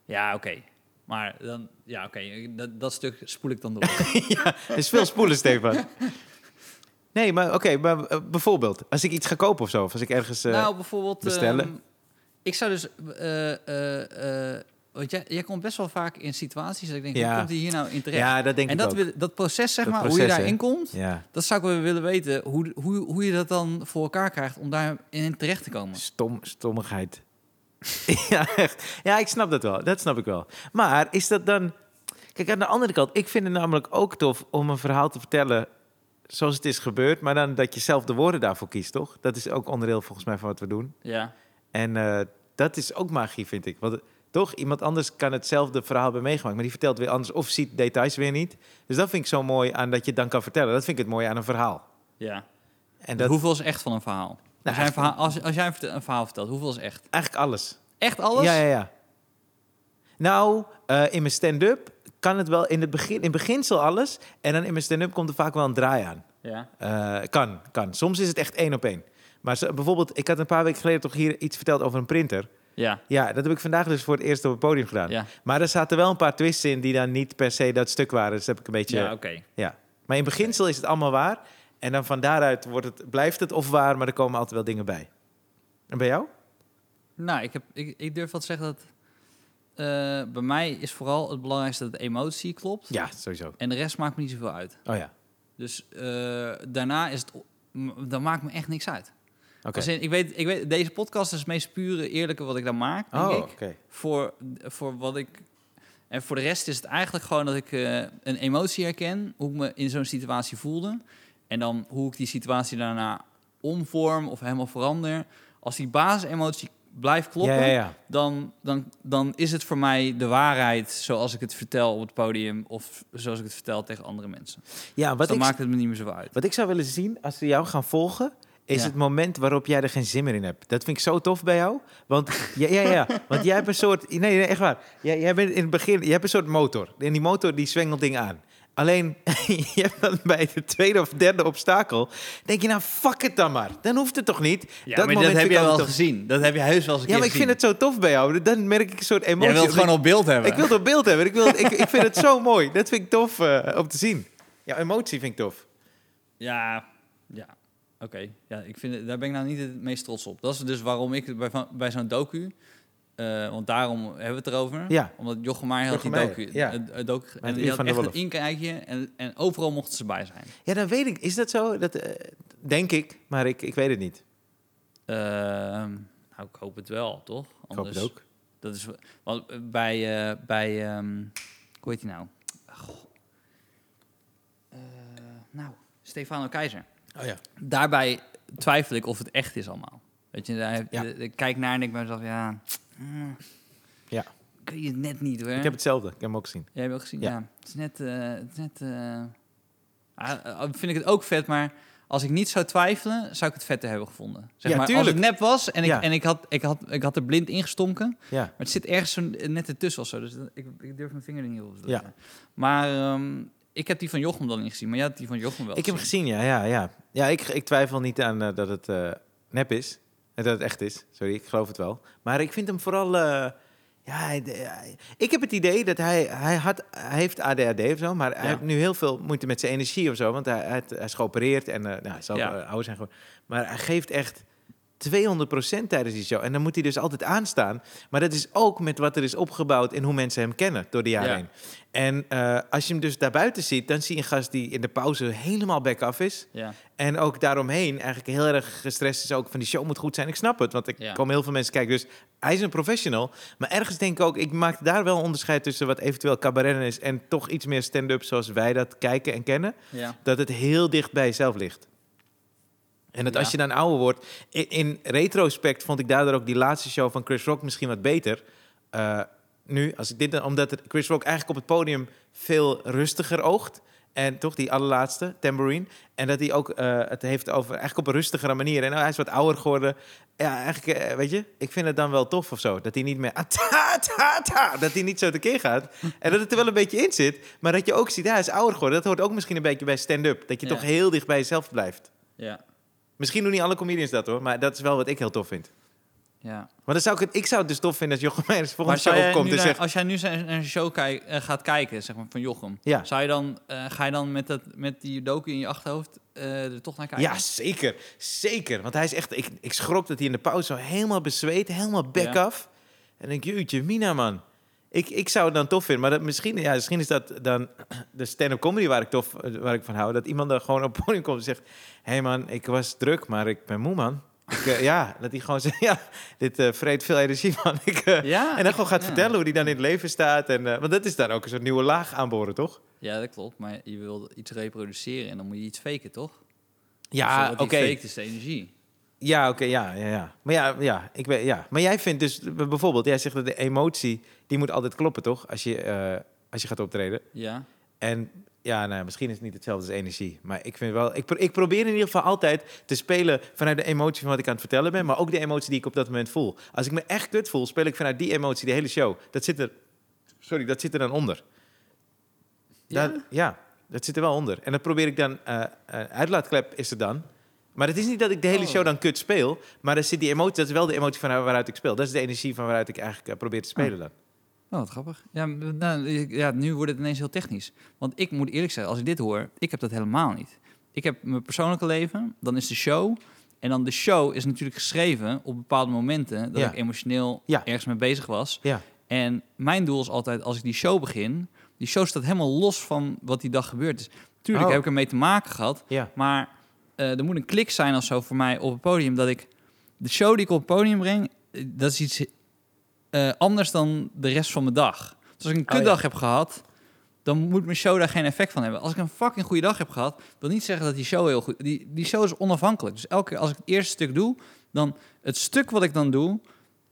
B: Ja, oké. Maar dan, ja, oké. Dat, dat stuk spoel ik dan door.
C: Er is veel spoelen, Stefan. Nee, maar oké. maar eh, bijvoorbeeld, als ik iets ga kopen of zo. Of als ik ergens... eh,
B: nou, bijvoorbeeld.
C: bestellen.
B: ehm, ik zou dus. eh, eh, eh, want jij, jij komt best wel vaak in situaties dat ik denk,
C: Ja.
B: hoe komt hij hier nou in terecht?
C: ja, dat denk
B: en
C: ik
B: dat,
C: ook.
B: wil- dat proces, zeg
C: Dat
B: maar, hoe
C: proces,
B: je
C: hè?
B: daarin komt,
C: Ja.
B: dat zou ik wel willen weten. Hoe, hoe, hoe je dat dan voor elkaar krijgt om daarin terecht te komen.
C: Stom, stommigheid. ja, echt. Ja, ik snap dat wel. Dat snap ik wel. Maar is dat dan... Kijk, aan de andere kant, ik vind het namelijk ook tof om een verhaal te vertellen zoals het is gebeurd, maar dan dat je zelf de woorden daarvoor kiest, toch? Dat is ook onderdeel volgens mij van wat we doen.
B: Ja.
C: En eh, dat is ook magie, vind ik. Want eh, toch, iemand anders kan hetzelfde verhaal hebben meegemaakt, maar die vertelt weer anders of ziet details weer niet. Dus dat vind ik zo mooi aan dat je het dan kan vertellen. Dat vind ik het mooie aan een verhaal.
B: ja.
C: En dat, Nou,
B: Hoeveel is echt van een verhaal? als, jij een
C: echt-
B: verhaal als, als jij een verte- een verhaal vertelt, hoeveel is echt?
C: eigenlijk alles.
B: Echt alles?
C: Ja, ja, ja. Nou, eh, in mijn stand-up kan het wel in het begin, in beginsel alles. En dan in mijn stand-up komt er vaak wel een draai aan.
B: Ja.
C: Eh, kan, kan. Soms is het echt één op één. Maar zo- bijvoorbeeld, ik had een paar weken geleden toch hier iets verteld over een printer.
B: Ja.
C: Ja, dat heb ik vandaag dus voor het eerst op het podium gedaan.
B: Ja.
C: Maar er zaten wel een paar twists in die dan niet per se dat stuk waren. Dus dat heb ik een beetje...
B: Ja,
C: Ja,
B: oké.
C: Maar in beginsel is het allemaal waar. En dan van daaruit wordt het, blijft het of waar, maar er komen altijd wel dingen bij. En bij jou?
B: Nou, ik, heb, ik, ik durf wel te zeggen dat... eh, bij mij is vooral het belangrijkste dat de emotie klopt.
C: Ja, sowieso.
B: En de rest maakt me niet zoveel uit.
C: Oh ja,
B: Dus eh, daarna is het... o- m- Dan maakt me echt niks uit.
C: oké.
B: Als in, ik, weet, ik weet, deze podcast is het meest pure, eerlijke wat ik dan maak, denk
C: Oh,
B: ik.
C: oké.
B: Voor, voor wat ik... En voor de rest is het eigenlijk gewoon dat ik eh, een emotie herken. Hoe ik me in zo'n situatie voelde. En dan hoe ik die situatie daarna omvorm of helemaal verander. Als die basisemotie blijft kloppen...
C: Ja, ja, ja.
B: Dan, dan, dan is het voor mij de waarheid zoals ik het vertel op het podium... of zoals ik het vertel tegen andere mensen.
C: ja
B: Dus
C: wat,
B: dan
C: ik,
B: maakt het me niet meer zo uit.
C: wat ik zou willen zien, als we jou gaan volgen... is
B: Ja.
C: het moment waarop jij er geen zin meer in hebt. Dat vind ik zo tof bij jou. Want, ja, ja, ja, want jij hebt een soort... Nee, nee echt waar. Jij, jij bent in het begin... Jij hebt een soort motor. En die motor die zwengelt dingen aan. Alleen, je hebt dan bij de tweede of derde obstakel... denk je, nou, fuck het dan maar. Dan hoeft het toch niet?
B: Ja, maar dat
C: moment
B: heb
C: vind
B: je
C: ik
B: wel
C: altijd tof.
B: gezien. Dat heb je heus wel eens een
C: Ja,
B: keer
C: maar ik
B: gezien.
C: vind het zo tof bij jou. Dan merk ik een soort emotie.
B: Jij wilt
C: op
B: het gewoon op beeld hebben.
C: ik wil het op beeld hebben. Ik, wil, ik, ik vind het zo mooi. Dat vind ik tof eh, om te zien. Ja, emotie vind ik tof.
B: Ja, ja. Oké. Ja, ik vind het- daar ben ik nou niet het meest trots op. Dat is dus waarom ik bij, van- bij zo'n docu... eh, want daarom hebben we het erover.
C: Ja.
B: Omdat Jochem Meijer had die
C: Jochem
B: docu.
C: Meijer, ja.
B: eh, eh, docu en
C: Ivan
B: die had
C: de
B: echt een
C: Wolf.
B: inkijkje. En, en overal mochten ze bij zijn.
C: Ja, dan weet ik. Is dat zo? Dat, eh, denk ik, maar ik, ik weet het niet.
B: Ehm, nou, ik hoop het wel, toch?
C: Ik hoop het ook.
B: Dat is, want eh, bij, eh, bij ehm, hoe heet die nou? Goh. Eh, nou, Stefano Keizer.
C: Oh ja.
B: Daarbij twijfel ik of het echt is allemaal. Weet je, daar heb,
C: Ja.
B: eh, ik kijk naar en denk bij mezelf, ja... mm,
C: Ja.
B: Kun je het net niet, hoor.
C: Ik heb hetzelfde. Ik heb hem ook gezien.
B: Jij hebt ook gezien?
C: Ja.
B: Ja. Het is net... eh, het is net eh, ah, eh, vind ik het ook vet, maar als ik niet zou twijfelen, zou ik het vetter hebben gevonden. Zeg
C: Ja,
B: maar, als
C: tuurlijk.
B: het nep was en, ik,
C: Ja.
B: en ik, had, ik, had, ik had er blind ingestonken, maar
C: Ja.
B: het zit ergens zo eh, net ertussen of zo. Dus dat- ik, ik durf mijn vinger er niet op te
C: Ja.
B: leggen. Maar ehm, ik heb die van Jochem dan niet gezien, maar jij had die van Jochem wel
C: Ik heb hem gezien, ja. Ja, ja. ja ik, ik twijfel niet aan eh, dat het eh, nep is. En dat het echt is. Sorry, ik geloof het wel. Maar ik vind hem vooral... eh, ja, hij- de- hij- ik heb het idee dat hij... Hij, had, hij heeft ADHD of zo, maar hij
B: Ja.
C: heeft nu heel veel moeite met zijn energie of zo. Want hij, hij, hij is geopereerd en eh, nou, hij zal
B: Ja.
C: eh, ouder zijn geworden. Maar hij geeft echt 200% tijdens die show. En dan moet hij dus altijd aanstaan. Maar dat is ook met wat er is opgebouwd en hoe mensen hem kennen door de jaren
B: Ja.
C: heen. En eh, als je hem dus daarbuiten ziet, dan zie je een gast die in de pauze helemaal back-off is.
B: Ja.
C: En ook daaromheen eigenlijk heel erg gestrest is ook van die show moet goed zijn. Ik snap het, want ik
B: Ja.
C: kom heel veel mensen kijken. Dus hij is een professional. Maar ergens denk ik ook, ik maak daar wel een onderscheid tussen wat eventueel cabaret is... en toch iets meer stand-up zoals wij dat kijken en kennen
B: ja.
C: dat het heel dicht bij jezelf ligt. En dat
B: Ja.
C: als je dan ouder wordt... In, in retrospect vond ik daardoor ook die laatste show van Chris Rock misschien wat beter. Eh, nu, als ik dit, dan- omdat het- Chris Rock eigenlijk op het podium veel rustiger oogt. En toch die allerlaatste, Tambourine. En dat hij ook eh, het heeft over eigenlijk op een rustigere manier. En nou, hij is wat ouder geworden. Ja, eigenlijk, eh, weet je, ik vind het dan wel tof of zo. Dat hij niet meer... ah, ta, ta, ta, dat hij niet zo tekeer gaat. En dat het er wel een beetje in zit. Maar dat je ook ziet, ja, hij is ouder geworden. Dat hoort ook misschien een beetje bij stand-up. Dat je
B: Ja.
C: toch heel dicht bij jezelf blijft.
B: Ja.
C: Misschien doen niet alle comedians dat hoor. Maar dat is wel wat ik heel tof vind.
B: Ja.
C: Maar dan zou ik, het, ik zou het dus tof vinden als Jochem Meijers
B: Maar
C: volgende
B: zou
C: show
B: jij
C: opkomt
B: nu
C: en
B: naar-
C: zegt...
B: als jij nu zijn, naar zijn show kijk- eh, gaat kijken, zeg maar, van Jochem,
C: Ja.
B: zou je dan, eh, ga je dan met, dat, met die docu in je achterhoofd eh, er toch naar kijken?
C: Ja, zeker. Zeker. Want hij is echt... Ik, ik schrok dat hij in de pauze zo helemaal bezweet. Helemaal back
B: Ja.
C: af. En denk ik, jeetje, Mina man. Ik, ik zou het dan tof vinden. Maar dat, misschien, ja, misschien is dat dan de stand-up comedy waar ik, tof, waar ik van hou. Dat iemand dan gewoon op het podium komt en zegt... Hé hey man, ik was druk, maar ik ben moe man. Ik, eh, ja, dat hij gewoon zegt... Ja, dit eh, vreet veel energie man. Ik, eh,
B: Ja,
C: en dan gewoon gaat
B: ja.
C: vertellen hoe hij dan in het leven staat. En, eh, want dat is daar ook een soort nieuwe laag aanboren, toch?
B: Ja, dat klopt. Maar je wil iets reproduceren en dan moet je iets faken, toch?
C: Ja,
B: Zodat
C: oké.
B: die faked is de energie.
C: Ja, oké, ja, ja, ja. Maar ja, ja, ik weet, ja. Maar jij vindt dus b- bijvoorbeeld, jij zegt dat de emotie, die moet altijd kloppen, toch? Als je, eh, als je gaat optreden.
B: Ja.
C: En ja, nou, misschien is het niet hetzelfde als energie. Maar ik vind wel, ik, pro- ik probeer in ieder geval altijd te spelen vanuit de emotie van wat ik aan het vertellen ben, maar ook de emotie die ik op dat moment voel. Als ik me echt kut voel, speel ik vanuit die emotie de hele show. Dat zit er, sorry, dat zit er dan onder.
B: Ja?
C: Dat- ja, dat zit er wel onder. En dat probeer ik dan, eh eh, uitlaatklep is er dan. Maar het is niet dat ik de hele
B: Oh.
C: show dan kut speel, maar er zit die emotie, dat is wel de emotie van waaruit ik speel. Dat is de energie van waaruit ik eigenlijk eh, probeer te spelen dan.
B: Oh, wat grappig. Ja, m- nou, ik- ja, nu wordt het ineens heel technisch. Want ik moet eerlijk zeggen, als ik dit hoor, ik heb dat helemaal niet. Ik heb mijn persoonlijke leven, dan is de show. En dan de show is natuurlijk geschreven op bepaalde momenten dat
C: Ja.
B: ik emotioneel
C: Ja.
B: ergens mee bezig was.
C: Ja,
B: En mijn doel is altijd, als ik die show begin, die show staat helemaal los van wat die dag gebeurd is. Tuurlijk
C: Oh.
B: heb ik ermee te maken gehad,
C: ja.
B: maar eh, er moet een klik zijn of zo voor mij op het podium. Dat ik de show die ik op het podium breng, eh, dat is iets eh, anders dan de rest van mijn dag. Dus als ik een
C: Oh, ja.
B: kutdag heb gehad, dan moet mijn show daar geen effect van hebben. Als ik een fucking goede dag heb gehad, wil niet zeggen dat die show heel goed... Die, die show is onafhankelijk. Dus elke keer als ik het eerste stuk doe, dan het stuk wat ik dan doe...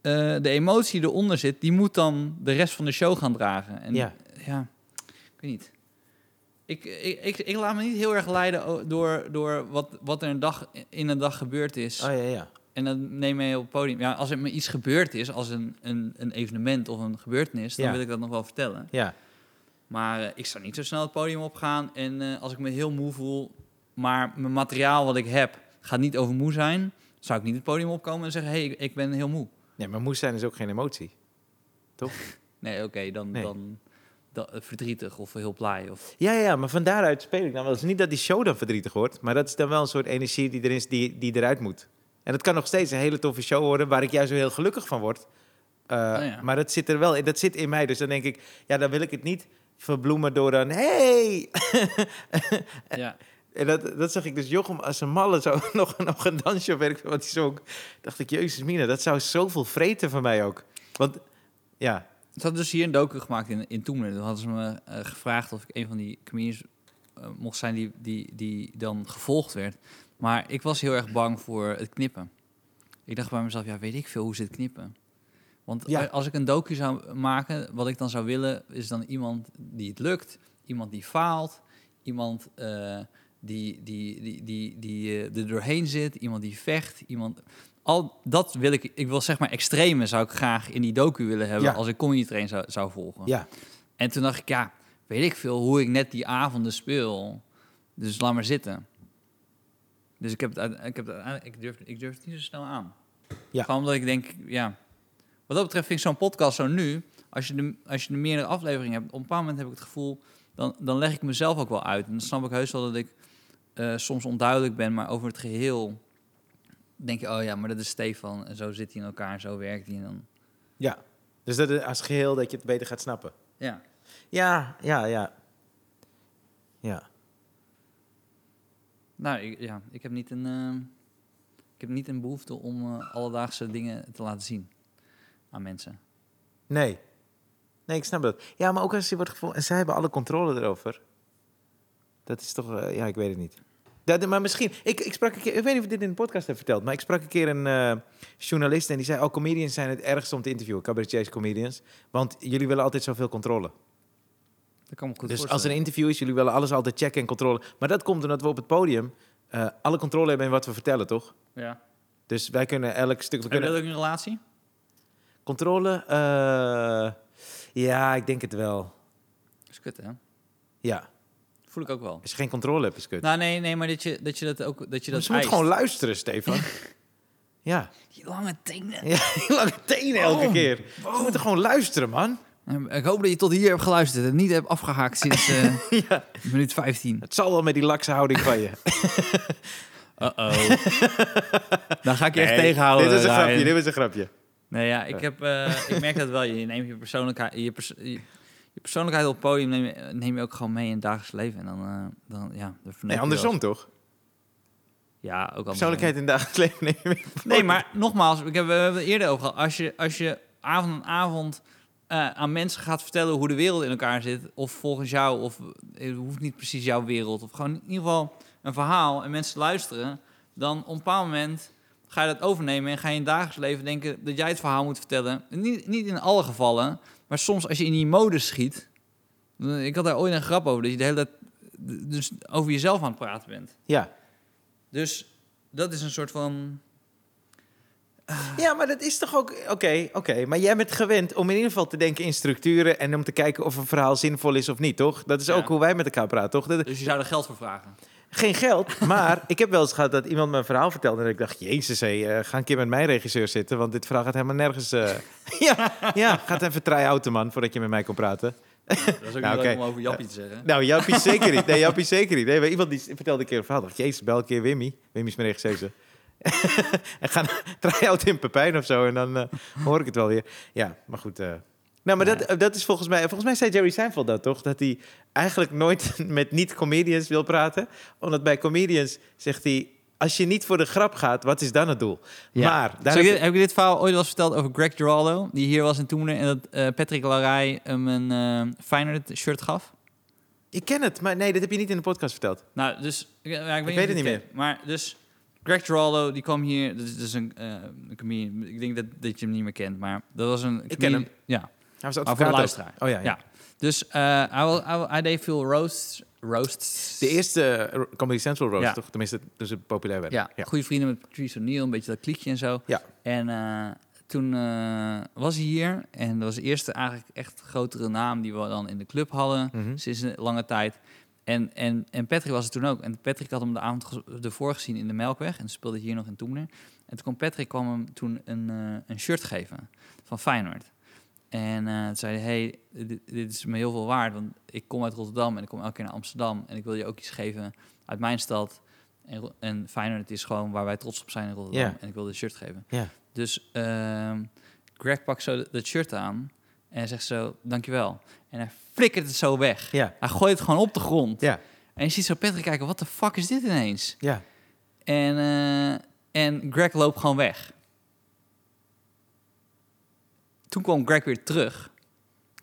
B: eh, de emotie die eronder zit, die moet dan de rest van de show gaan dragen. En
C: Ja.
B: ja ik weet niet. Ik, ik, ik, ik laat me niet heel erg leiden o- door, door wat, wat er een dag, in een dag gebeurd is.
C: Oh ja, ja.
B: En dat neem je mee op het podium. Ja, als er me iets gebeurd is, als een, een, een evenement of een gebeurtenis, dan
C: Ja.
B: wil ik dat nog wel vertellen.
C: Ja,
B: Maar eh, ik zou niet zo snel het podium opgaan. En eh, als ik me heel moe voel, maar mijn materiaal wat ik heb gaat niet over moe zijn, zou ik niet het podium opkomen en zeggen: hé, hey, ik, ik ben heel moe.
C: nee, maar moe zijn is ook geen emotie.
B: Nee, oké, dan,
C: Nee.
B: dan, dan eh, verdrietig of heel blij. Of,
C: Ja, ja, ja, maar van daaruit speel ik dan wel. Het is niet dat die show dan verdrietig wordt, maar dat is dan wel een soort energie die, er is, die, die eruit moet. En dat kan nog steeds een hele toffe show worden waar ik juist zo heel gelukkig van word. Uh,
B: Nou ja.
C: Maar dat zit er wel in, dat zit in mij. Dus dan denk ik, ja, dan wil ik het niet verbloemen door een hey. Eh,
B: ja.
C: En dat, dat zag ik dus Jochem als een malle zo nog, nog een dansje of weet ik veel wat hij zo Dacht ik, jezus mina, dat zou zoveel vreten van mij ook. Want, ja,
B: Ze hadden dus hier een docu gemaakt in, in Toemler. Toen hadden ze me eh, gevraagd of ik een van die comedians eh, mocht zijn die, die, die dan gevolgd werd. Maar ik was heel erg bang voor het knippen. Ik dacht bij mezelf, ja, weet ik veel hoe ze het knippen. Want
C: Ja.
B: a- als ik een docu zou maken, wat ik dan zou willen, is dan iemand die het lukt, iemand die faalt, iemand eh, die, die, die, die, die eh, er doorheen zit, iemand die vecht, iemand. Al dat wil ik, ik wil zeg maar extreme zou ik graag in die docu willen hebben
C: Ja.
B: als ik comedy train zou, zou volgen.
C: Ja.
B: En toen dacht ik, ja, weet ik veel hoe ik net die avonden speel. Dus laat maar zitten. Dus ik heb het, uit- ik heb het uit- ik durf, ik durf het niet zo snel aan.
C: Ja.
B: Gewoon omdat ik denk, ja. Wat dat betreft vind ik zo'n podcast zo nu, als je, de, als je de meerdere afleveringen hebt, op een bepaald moment heb ik het gevoel, dan, dan leg ik mezelf ook wel uit. En dan snap ik heus wel dat ik eh, soms onduidelijk ben, maar over het geheel denk je, oh ja, maar dat is Stefan en zo zit hij in elkaar, en zo werkt hij en dan.
C: ja. Dus dat is als geheel dat je het beter gaat snappen.
B: Ja.
C: Ja, ja, ja. Ja.
B: Nou, ik, ja, ik heb niet een, eh, ik heb niet een behoefte om eh, alledaagse dingen te laten zien aan mensen.
C: Nee. Nee, ik snap dat. Ja, maar ook als je wordt gevoeld... En zij hebben alle controle erover. Dat is toch... eh, ja, ik weet het niet. Dat, maar misschien... Ik, ik sprak een keer... Ik weet niet of ik dit in de podcast heb verteld... maar ik sprak een keer een eh, journalist en die zei... Oh, comedians zijn het ergst om te interviewen. Cabaretiers, comedians. Want jullie willen altijd zoveel controle.
B: Dat kan me goed
C: dus als er
B: voorstellen.
C: een interview is, jullie willen alles altijd checken en controle. Maar dat komt omdat we op het podium... eh, alle controle hebben in wat we vertellen, toch?
B: Ja.
C: Dus wij kunnen elk stuk...
B: Heb
C: We
B: je
C: kunnen
B: dat ook in een relatie?
C: controle... eh, ja, ik denk het wel.
B: Dat is kut, hè?
C: Ja.
B: Voel ik ook wel.
C: Als je geen controle hebt, is kut.
B: Nou, nee, nee, maar dat je dat, je dat ook... Dat je dat
C: ze moet
B: eist.
C: gewoon luisteren, Stefan. ja.
B: Die lange tenen.
C: ja. die Lange tenen elke
B: Waarom?
C: keer. Ze moeten gewoon luisteren, man.
B: Eh, Ik hoop dat je tot hier hebt geluisterd en niet hebt afgehaakt sinds eh, minuut 15.
C: Het zal wel met die lakse houding van je.
B: Uh-oh. Dan ga ik je echt
C: Nee,
B: tegenhouden,
C: Dit is een
B: Ryan.
C: grapje, dit is een grapje.
B: Nee, ja, ik, heb, eh, ik merk dat wel. Je neemt je persoonlijkheid, je, pers- je, je persoonlijkheid op het podium neem je, neem je ook gewoon mee in het dagelijks leven. En dan, eh, dan ja, dan verneuk
C: Nee,
B: je
C: andersom
B: wel
C: toch?
B: eens. Ja, ook andersom.
C: Persoonlijkheid in dagelijks leven nemen.
B: Nee, maar nogmaals, ik heb, we hebben het eerder over gehad. Als je, als je avond aan avond eh, aan mensen gaat vertellen hoe de wereld in elkaar zit, of volgens jou, of eh, het hoeft niet precies jouw wereld, of gewoon in ieder geval een verhaal en mensen luisteren, dan op een bepaald moment ga je dat overnemen en ga je in het dagelijks leven denken dat jij het verhaal moet vertellen. Niet, niet in alle gevallen, maar soms als je in die mode schiet. dan- Ik had daar ooit een grap over, dat je de hele tijd d- dus over jezelf aan het praten bent.
C: Ja.
B: Dus dat is een soort van
C: ja, maar dat is toch ook... Oké, oké. Maar jij bent gewend om in ieder geval te denken in structuren... en om te kijken of een verhaal zinvol is of niet, toch? Dat is
B: Ja.
C: ook hoe wij met elkaar praten, toch? Dat-
B: Dus je zou er geld voor vragen.
C: Geen geld, maar ik heb wel eens gehad dat iemand mijn verhaal vertelde. En ik dacht, jezus, hé, eh, ga een keer met mijn regisseur zitten. Want dit verhaal gaat helemaal nergens. eh." ja, ja, gaat even try-outen, man, voordat je met mij kon praten.
B: Dat is ook
C: Nou,
B: niet
C: oké.
B: leuk om over Jappie te zeggen.
C: Nou, Jappie zeker niet. Nee, Jappie zeker niet. Nee, maar iemand die s- vertelde een keer een verhaal. dacht, jezus, bel een keer Wimmy. Wimmy is mijn regisseur. ze. en ga naar try-out in Pepijn of zo. En dan eh, hoor ik het wel weer. Ja, maar goed. eh. nou, maar dat, eh, dat is volgens mij... Volgens mij zei Jerry Seinfeld dat, toch? Dat hij eigenlijk nooit met niet-comedians wil praten. Omdat bij comedians zegt hij... Als je niet voor de grap gaat, wat is dan het doel? Maar...
B: Daar heb, ik dit, heb ik dit verhaal ooit wel eens verteld over Greg Giraldo, die hier was en toen en dat eh, Patrick Larij hem een eh Feyenoord shirt gaf?
C: Ik ken het, maar nee, dat heb je niet in de podcast verteld.
B: Nou, dus... Ik, ja, ik,
C: weet
B: weet of
C: het
B: je
C: niet
B: kent, Maar dus Greg Giraldo, die kwam hier... Dat is, dat is een, eh, een comedian. Ik denk dat, dat je hem niet meer kent, maar dat was een...
C: Ik ken
B: comedian-
C: hem.
B: Ja,
C: Hij was
B: maar voor
C: advocaat
B: de
C: ook.
B: luisteraar.
C: Oh ja, ja.
B: Ja. Dus eh, hij, was- hij, hij deed veel roasts. roasts.
C: De eerste eh, Ro- Comedy Central roast,
B: Ja.
C: toch? Tenminste, toen ze populair werden.
B: Ja, goede vrienden met Patrice O'Neill, een beetje dat kliekje en zo.
C: Ja.
B: En eh, toen eh, was hij hier en dat was de eerste eigenlijk echt grotere naam die we dan in de club hadden
C: Mhm.
B: sinds een lange tijd. En, en, en Patrick was er toen ook. En Patrick had hem de avond ge- ervoor gezien in de Melkweg. En speelde hier nog in Toemler. En toen kwam Patrick kwam hem toen een, eh, een shirt geven van Feyenoord. En eh, toen zei hij, hey, dit, dit is me heel veel waard. Want ik kom uit Rotterdam en ik kom elke keer naar Amsterdam. En ik wil je ook iets geven uit mijn stad. En, Ro- en Feyenoord is gewoon waar wij trots op zijn in Rotterdam.
C: Ja.
B: En ik wil dit shirt geven.
C: Ja.
B: Dus ehm, Greg pakt zo dat shirt aan en zegt zo, dankjewel. En hij flikkert het zo weg.
C: Ja,
B: Hij gooit het gewoon op de grond.
C: ja,
B: En je ziet zo Patrick kijken, wat de fuck is dit ineens?
C: ja.
B: En, eh, en Greg loopt gewoon weg. Toen kwam Greg weer terug.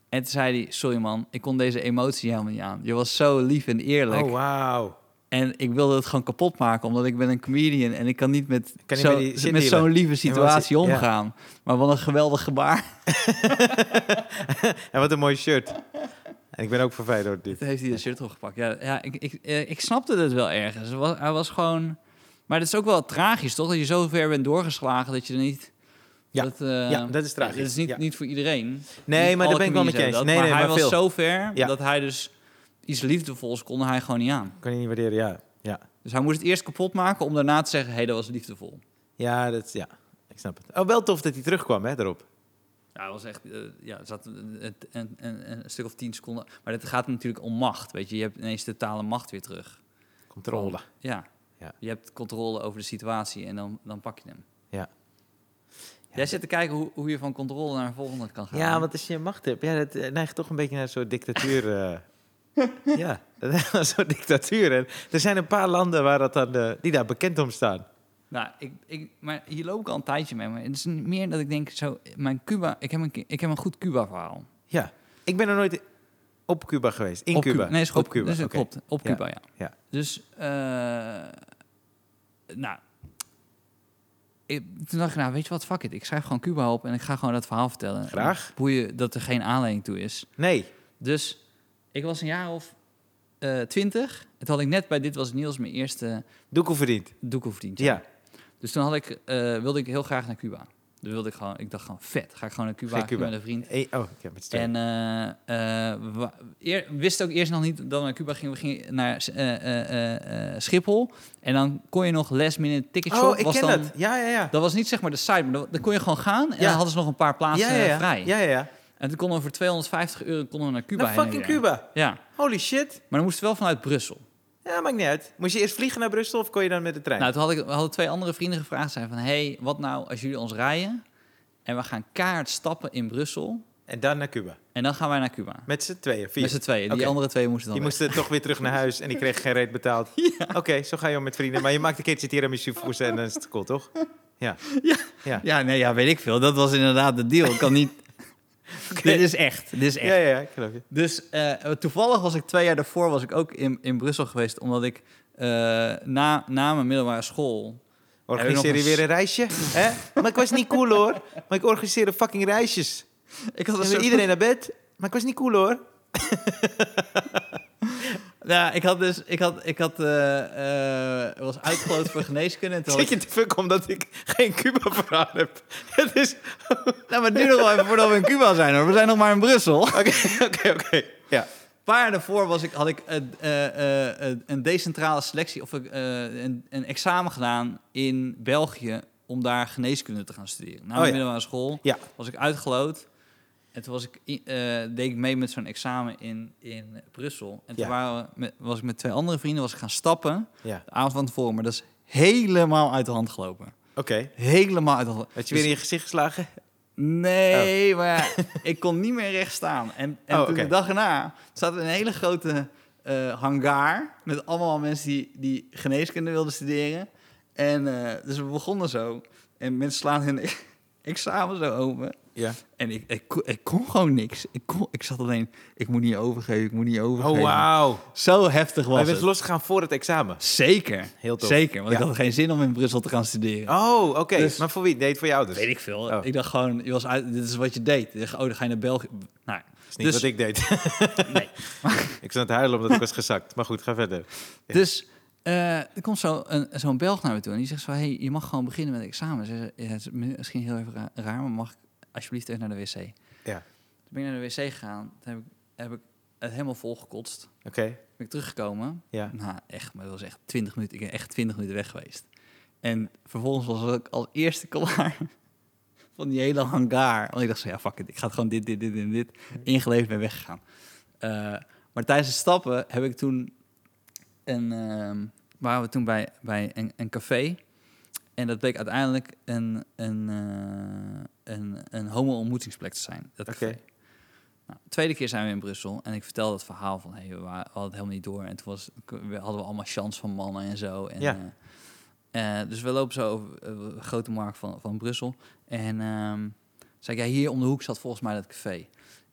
B: En toen zei hij, sorry man, ik kon deze emotie helemaal niet aan. Je was zo lief en eerlijk.
C: Oh, wauw.
B: En ik wilde het gewoon kapot maken, omdat ik ben een comedian en ik kan niet met,
C: Kan niet
B: zo-
C: met die shit
B: met
C: dealen.
B: zo'n lieve situatie
C: Emotie, ja.
B: omgaan. Maar wat een geweldig gebaar.
C: En wat een mooi shirt. En ik ben ook verwijderd door dit.
B: Toen heeft hij de shirt opgepakt. Ja, ja ik, ik, eh, ik snapte het wel ergens. Het was, hij was gewoon... Maar het is ook wel tragisch, toch? Dat je zo ver bent doorgeslagen dat je er niet...
C: Ja.
B: dat, eh,
C: Ja, dat is tragisch.
B: Het is niet,
C: Ja.
B: niet voor iedereen.
C: Nee,
B: Niet
C: maar
B: alle
C: daar ben ik wel met je
B: comedians hebben
C: eens.
B: dat,
C: Nee,
B: maar
C: nee,
B: hij
C: maar
B: was
C: veel.
B: zo ver
C: Ja.
B: dat hij dus iets liefdevols kon hij gewoon niet aan.
C: Kan je niet waarderen, ja. Ja,
B: Dus hij moest het eerst kapot maken om daarna te zeggen... hé, hey, dat was liefdevol.
C: ja, dat, ja. ik snap het. Oh, wel tof dat hij terugkwam, hè, daarop.
B: Ja, het was echt, eh, ja, er zat een, een, een, een stuk of tien seconden. Maar het gaat natuurlijk om macht, weet je. Je hebt ineens totale macht weer terug.
C: Controle.
B: Ja.
C: Ja.
B: Je hebt controle over de situatie en dan, dan pak je hem.
C: Ja.
B: Jij zit te kijken hoe, hoe je van controle naar de volgende kan gaan.
C: Ja, want als je macht hebt, ja, dat eh, neigt toch een beetje naar zo'n dictatuur. eh. ja, dat neigt naar zo'n dictatuur. En er zijn een paar landen waar dat dan, eh, die daar bekend om staan.
B: Nou, ik, ik, maar hier loop ik al een tijdje mee. Maar het is niet meer dat ik denk, zo, mijn Cuba... Ik heb een, ki- ik heb een goed Cuba-verhaal.
C: Ja, ik ben er nooit op Cuba geweest. In
B: op
C: Cuba.
B: Nee, is
C: op
B: goed.
C: Cuba.
B: Dus het
C: oké.
B: klopt. Op
C: Ja.
B: Cuba, ja.
C: Ja.
B: Dus, eh, nou. Ik, toen dacht ik, nou, weet je wat, fuck it. Ik schrijf gewoon Cuba op en ik ga gewoon dat verhaal vertellen.
C: Graag.
B: Hoe je dat er geen aanleiding toe is.
C: Nee,
B: Dus ik was een jaar of eh, twintig. het had ik net bij Dit Was Het Nieuws mijn eerste
C: doekoe verdiend.
B: doekoefdienst.
C: Ja,
B: Dus toen had ik, eh, wilde ik heel graag naar Cuba. Dus wilde ik gewoon, ik dacht gewoon, vet, ga ik gewoon naar Cuba,
C: Geen Cuba.
B: met een vriend.
C: Eh, oh, ik heb het stuk.
B: En eh, eh, wa- eer- we wisten ook eerst nog niet dat we naar Cuba gingen. We gingen naar eh, eh, eh, eh, Schiphol. En dan kon je nog last minute ticket shop.
C: oh, ik
B: was
C: ken
B: dan,
C: dat. Ja, ja, ja.
B: Dat was niet zeg maar de site, maar dan, dan kon je gewoon gaan. En
C: Ja.
B: dan hadden ze nog een paar plaatsen
C: ja, ja, ja.
B: eh, vrij.
C: Ja, ja, ja.
B: En toen konden we voor 250 euro konden we naar Cuba
C: Naar
B: heen en
C: fucking
B: weer.
C: Cuba.
B: Ja,
C: Holy shit.
B: maar dan moest het wel vanuit Brussel.
C: Ja, maakt niet uit. Moest je eerst vliegen naar Brussel of kon je dan met de trein?
B: Nou, toen had ik, we hadden twee andere vrienden gevraagd. Zijn van, hey, wat nou als jullie ons rijden en we gaan kaart stappen in Brussel
C: en dan naar Cuba.
B: en dan gaan wij naar Cuba.
C: Met z'n tweeën, vier.
B: Met z'n tweeën. Die
C: Oké.
B: andere twee moesten dan
C: Die
B: weg.
C: moesten toch weer terug naar huis en die kregen geen reet betaald. Oké, zo ga je om met vrienden. Maar je maakt een keertje tiramisu fousse en dan is het cool, toch? Ja. Ja.
B: Ja, nee, ja, weet ik veel. Dat was inderdaad de deal. Ik kan niet... Dit is echt. Dit is echt.
C: Ja, ja, ja, ik geloof je.
B: Dus eh, toevallig was ik twee jaar daarvoor was ik ook in, in Brussel geweest, omdat ik eh, na, na mijn middelbare school...
C: Organiseer je
B: nog
C: weer
B: eens-
C: een reisje? hè? Maar ik was niet cool, hoor. Maar ik organiseerde fucking reisjes.
B: Ik had, een
C: En
B: soort-
C: weer iedereen naar bed. Maar ik was niet cool, hoor.
B: Nou, ik had dus... Ik had, ik had, eh, eh, was uitgeloot voor geneeskunde. En toen had
C: Zit
B: ik,
C: je te fuck omdat ik geen Cuba-verhaal heb? Het is...
B: nou, maar het duurt nog wel even voordat we in Cuba zijn, hoor. We zijn nog maar in Brussel.
C: Oké, oké, oké. Ja.
B: Een paar jaar daarvoor was ik, had ik eh, eh, eh, een decentrale selectie of eh, een, een examen gedaan in België om daar geneeskunde te gaan studeren. Na
C: Oh
B: mijn
C: ja.
B: middelbare school
C: Ja.
B: was ik uitgeloot. En toen was ik, i- eh, deed ik mee met zo'n examen in, in Brussel. En toen
C: Ja.
B: waren we met- was ik met twee andere vrienden was ik gaan stappen.
C: Ja.
B: De avond van tevoren, maar dat is helemaal uit de hand gelopen.
C: Oké.
B: Helemaal uit de hand.
C: Had je weer in je gezicht geslagen?
B: Nee, maar ik kon niet meer recht staan. En, en
C: Oh,
B: toen
C: oké.
B: de dag erna zat er een hele grote eh, hangar met allemaal mensen die, die geneeskunde wilden studeren. En eh, dus we begonnen zo. En mensen slaan hun examen zo open.
C: Ja.
B: En ik, ik, kon- ik kon gewoon niks. Ik, kon, ik zat alleen, ik moet niet overgeven, ik moet niet
C: Oh,
B: overgeven.
C: wauw.
B: Zo heftig
C: Hij
B: was
C: bent
B: het.
C: losgegaan voor het examen.
B: Zeker.
C: Heel tof.
B: Zeker, want
C: Ja.
B: ik had geen zin om in Brussel te gaan studeren.
C: Oh, oké.
B: Dus-
C: Maar voor wie? Nee, voor je ouders.
B: Weet ik veel.
C: Oh.
B: Ik dacht gewoon, je was uit, dit is wat je deed. Je dacht, Oh, dan ga je naar België. Nou,
C: Dat is niet
B: Dus-
C: wat ik deed.
B: Nee.
C: ik zat te huilen omdat ik was gezakt. Maar goed, ga verder. Ja.
B: Dus eh, er komt zo een- zo'n Belg naar me toe en die zegt zo... hey, je mag gewoon beginnen met examens. Ze zei, "Ja, het is mi- misschien heel even ra- raar, maar mag ik alsjeblieft even naar de wc? Toen
C: Ja,
B: ben ik naar de wc gegaan, toen heb ik, heb ik het helemaal volgekotst. Toen
C: oké.
B: ben ik teruggekomen.
C: Ja.
B: Nou, echt, maar dat was echt 20 minuten. Ik ben echt 20 minuten weg geweest. En vervolgens was ik als eerste klaar van die hele hangar. Want ik dacht zo, ja, fuck it. Ik ga het gewoon dit, dit, dit en dit ingeleverd ben weggegaan. Eh, maar tijdens het stappen heb ik toen... Een, ehm, waren we toen bij, bij een, een café. En dat bleek uiteindelijk een, een, eh, een, een homo-ontmoetingsplek te zijn. Dat café.
C: Oké.
B: Nou, tweede keer zijn we in Brussel en ik vertelde het verhaal van... Hey, we, wa- we hadden het helemaal niet door en toen was, k- we hadden we allemaal chance van mannen en zo. En,
C: Ja.
B: eh, eh, dus we lopen zo over eh, de grote markt van, van Brussel. En ehm zei ik, ja, hier om de hoek zat volgens mij dat café.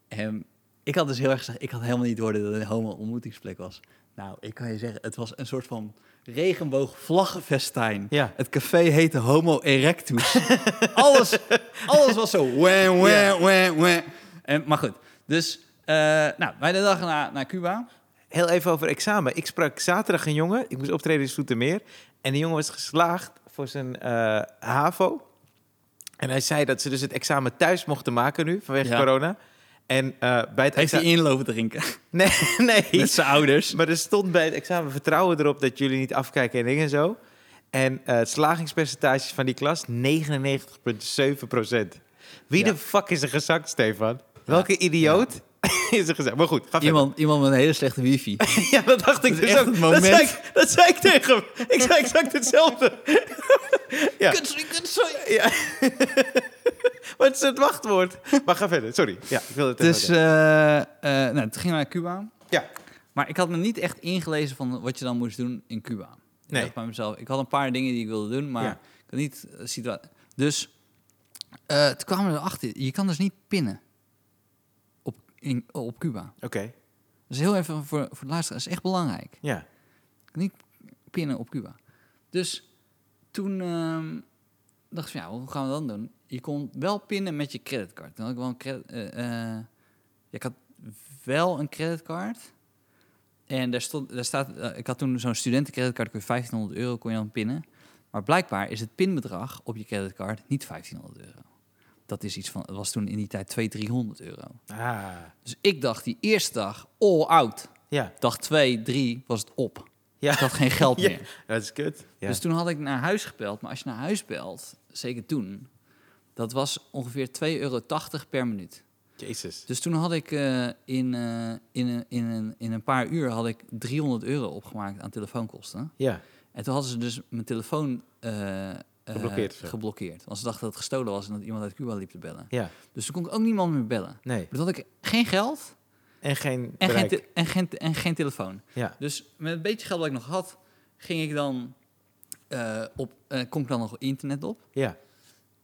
B: En Ik had dus heel erg gezegd, ik had helemaal niet door dat het een homo-ontmoetingsplek was. Nou, ik kan je zeggen, het was een soort van regenboog-vlaggenfestijn.
C: Ja.
B: Het café heette Homo Erectus. alles, alles was zo. Wah, wah,
C: Ja.
B: wah, wah. En, maar goed, dus eh, nou, wij de dag naar, naar Cuba.
C: Heel even over examen. Ik sprak zaterdag een jongen. Ik moest optreden in Soetermeer. En die jongen was geslaagd voor zijn eh, HAVO. En hij zei dat ze dus het examen thuis mochten maken nu, vanwege
B: Ja.
C: corona. En eh, bij
B: Heeft
C: het
B: hij
C: examen...
B: inlopen drinken
C: Nee, nee.
B: met zijn ouders?
C: Maar er stond bij het examen vertrouwen erop dat jullie niet afkijken en dingen zo. En eh, het slagingspercentage van die klas, 99,7 Wie
B: Ja.
C: de fuck is er gezakt, Stefan? Welke idioot is er gezakt? Maar goed, ga verder.
B: Iemand, iemand met een hele slechte wifi.
C: Ja, dat dacht ik
B: Dat is
C: dus
B: echt
C: ook.
B: het
C: Dat zei,
B: moment.
C: ik, dat zei ik tegen hem. Ik zei exact hetzelfde. Ja.
B: Kutsoei, kutsoei.
C: Ja. Maar het is het wachtwoord. Maar ga verder, sorry. Ja, ik wilde het even
B: Dus
C: vertellen.
B: eh, eh, nou, toen gingen we naar Cuba.
C: Ja.
B: Maar ik had me niet echt ingelezen van wat je dan moest doen in Cuba. Ik
C: Nee.
B: dacht bij mezelf, ik had een paar dingen die ik wilde doen, maar
C: Ja.
B: ik had niet eh, situa- Dus eh toen kwamen we erachter, je kan dus niet pinnen op, in, op Cuba.
C: Oké,
B: Dat is heel even voor, voor de luisteraar, dat is echt belangrijk.
C: ja.
B: Je kan niet pinnen op Cuba. Dus toen ehm, dacht ik van, ja, hoe gaan we dat dan doen? Je kon wel pinnen met je creditcard. Dan had ik wel een credit... eh, eh, ik had wel een creditcard. En daar stond, daar staat, eh, ik had toen zo'n studentencreditcard, kun je 1500 euro kon je dan pinnen. Maar blijkbaar is het pinbedrag op je creditcard niet 1500 euro. Dat is iets van, het was toen in die tijd 200, 300 euro.
C: Ah,
B: Dus ik dacht die eerste dag all out.
C: ja.
B: Dag 2, 3 was het op.
C: Ja.
B: Ik had geen geld
C: Ja,
B: meer.
C: dat is kut. Ja.
B: Dus toen had ik naar huis gebeld. Maar als je naar huis belt, zeker toen, dat was ongeveer 2,80 euro per minuut.
C: Jezus.
B: Dus toen had ik eh, in, eh, in, een- in, een, in een paar uur had ik 300 euro opgemaakt aan telefoonkosten.
C: Ja.
B: En toen hadden ze dus mijn telefoon eh, eh,
C: Geblokkeerd of zo.
B: geblokkeerd. Want ze dachten dat het gestolen was en dat iemand uit Cuba liep te bellen.
C: Ja,
B: Dus toen kon ik ook niemand meer bellen.
C: nee.
B: Toen had ik geen geld
C: En geen
B: en, geen,
C: bereik.
B: te- en, geen, en geen telefoon.
C: ja.
B: Dus met een beetje geld dat ik nog had, ging ik dan eh, op, eh, kon ik dan nog internet op.
C: ja,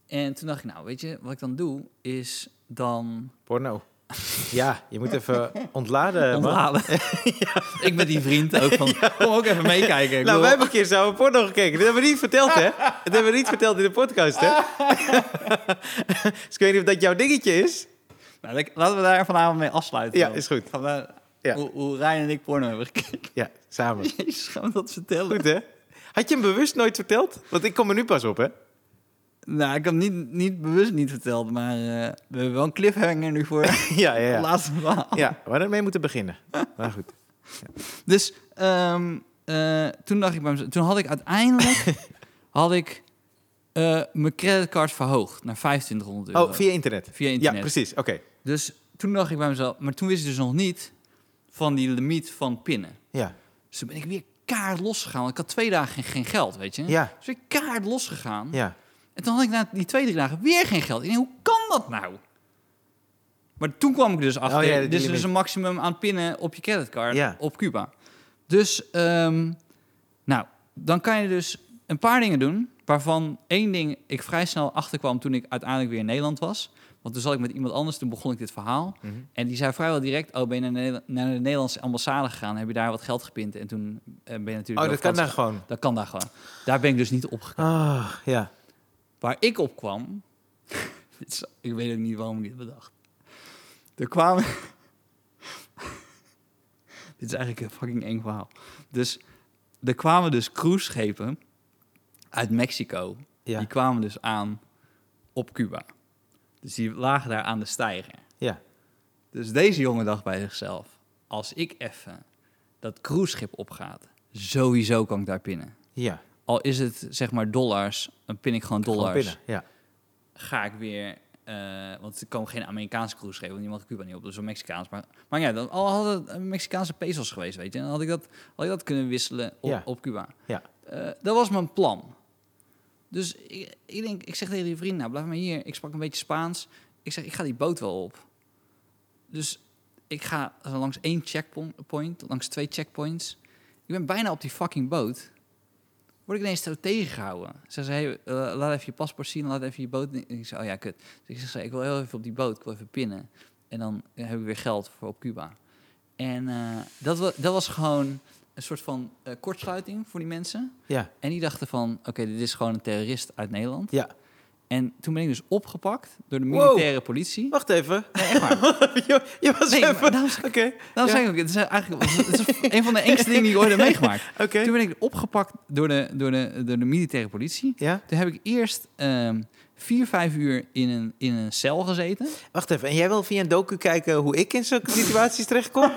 B: En toen dacht ik, nou weet je, wat ik dan doe, is dan
C: porno. ja, je moet even ontladen. man. Nou,
B: onthalen. ik met die vriend ook van, kom ook even meekijken. Ik
C: Nou,
B: wil-
C: wij hebben een keer samen porno gekeken. Dat hebben we niet verteld, hè? Dat hebben we niet verteld in de podcast, hè? dus ik weet niet of dat jouw dingetje is.
B: Nou, lek- laten we daar vanavond mee afsluiten.
C: Ja,
B: dan.
C: is goed.
B: Gaan we-
C: Ja.
B: hoe, hoe Rijn en ik porno hebben gekeken.
C: Ja, samen.
B: Jezus, gaan we dat vertellen?
C: Goed, hè? Had je hem bewust nooit verteld? Want ik kom er nu pas op, hè?
B: Nou, ik heb hem niet, niet bewust niet verteld, maar eh, we hebben wel een cliffhanger nu voor het
C: Ja, ja, ja.
B: laatste verhaal.
C: Ja, we hadden ermee moeten beginnen. Maar goed.
B: Dus ehm, eh, toen dacht ik bij mezelf, toen had ik uiteindelijk had ik, eh, mijn creditcard verhoogd naar 2500 euro.
C: Oh, via internet.
B: Via
C: Ja,
B: internet.
C: precies. Oké.
B: Dus toen dacht ik bij mezelf, maar toen wist ik dus nog niet van die limiet van pinnen.
C: Ja.
B: Dus toen ben ik weer kaart losgegaan, want ik had twee dagen geen, geen geld, weet je.
C: Ja.
B: Dus weer kaart losgegaan.
C: Ja.
B: En toen had ik na die twee, drie dagen weer geen geld. Ik denk, hoe kan dat nou? Maar toen kwam ik dus achter,
C: Oh ja, die
B: dit is dus
C: limiet.
B: een maximum aan pinnen op je creditcard
C: Ja.
B: op Cuba. Dus, ehm, nou, dan kan je dus een paar dingen doen, waarvan één ding ik vrij snel achterkwam toen ik uiteindelijk weer in Nederland was. Want toen zat ik met iemand anders, toen begon ik dit verhaal.
C: Mhm.
B: En die zei vrijwel direct, oh, ben je naar de, Nederla- naar de Nederlandse ambassade gegaan, heb je daar wat geld gepint en toen eh, ben je natuurlijk...
C: Oh,
B: wel
C: dat kan
B: vakantie
C: dan gewoon.
B: gegaan. Dat kan daar gewoon. Daar ben ik dus niet opgekomen.
C: Ah, ja.
B: Waar ik op kwam, dit is- ik weet ook niet waarom ik dit bedacht. Er kwamen. dit is eigenlijk een fucking eng verhaal. Dus er kwamen dus cruiseschepen uit Mexico.
C: Ja.
B: Die kwamen dus aan op Cuba. Dus die lagen daar aan de steiger.
C: Ja.
B: Dus deze jongen dacht bij zichzelf: als ik even dat cruiseschip opgaat, sowieso kan ik daar pinnen.
C: Ja.
B: Al is het zeg maar dollars, dan pin ik gewoon
C: Gewoon
B: dollars
C: binnen. Ja.
B: ga ik weer. eh, want er komen geen Amerikaanse cruise geven, want niemand Cuba niet op, dus wel Mexicaans. Maar, maar ja, dan al had het een Mexicaanse pesos geweest, weet je, dan had ik dat, had ik dat kunnen wisselen op,
C: Ja.
B: op Cuba.
C: Ja.
B: Eh, dat was mijn plan. Dus ik, ik denk, ik zeg tegen die vriend, nou blijf maar hier. Ik sprak een beetje Spaans. Ik zeg, ik ga die boot wel op. Dus ik ga langs één checkpoint, langs twee checkpoints. Ik ben bijna op die fucking boot. Word ik ineens zo tegengehouden. Ze zei, hey, eh, laat even je paspoort zien, laat even je boot... zien. Ik zei, oh ja, kut. Dus ik zeg, ik wil heel even op die boot, ik wil even pinnen. En dan heb ik weer geld voor op Cuba. En eh, dat, wa- dat was gewoon een soort van eh, kortsluiting voor die mensen.
C: Ja.
B: En die dachten van, oké, dit is gewoon een terrorist uit Nederland.
C: Ja.
B: En toen ben ik dus opgepakt door de
C: Wow.
B: militaire politie.
C: Wacht even.
B: Oh, Nee, echt waar.
C: je, je was
B: Nee,
C: even...
B: maar daarom,
C: Oké, oké.
B: daarom zeg
C: Ja.
B: ik ook, het is eigenlijk het is een van de engste dingen die ik ooit heb meegemaakt. Toen ben ik opgepakt door de, door de, door de militaire politie.
C: Ja?
B: Toen heb ik eerst ehm, vier, vijf uur in een, in een cel gezeten.
C: Wacht even. En jij wil via een docu kijken hoe ik in zulke situaties terechtkom?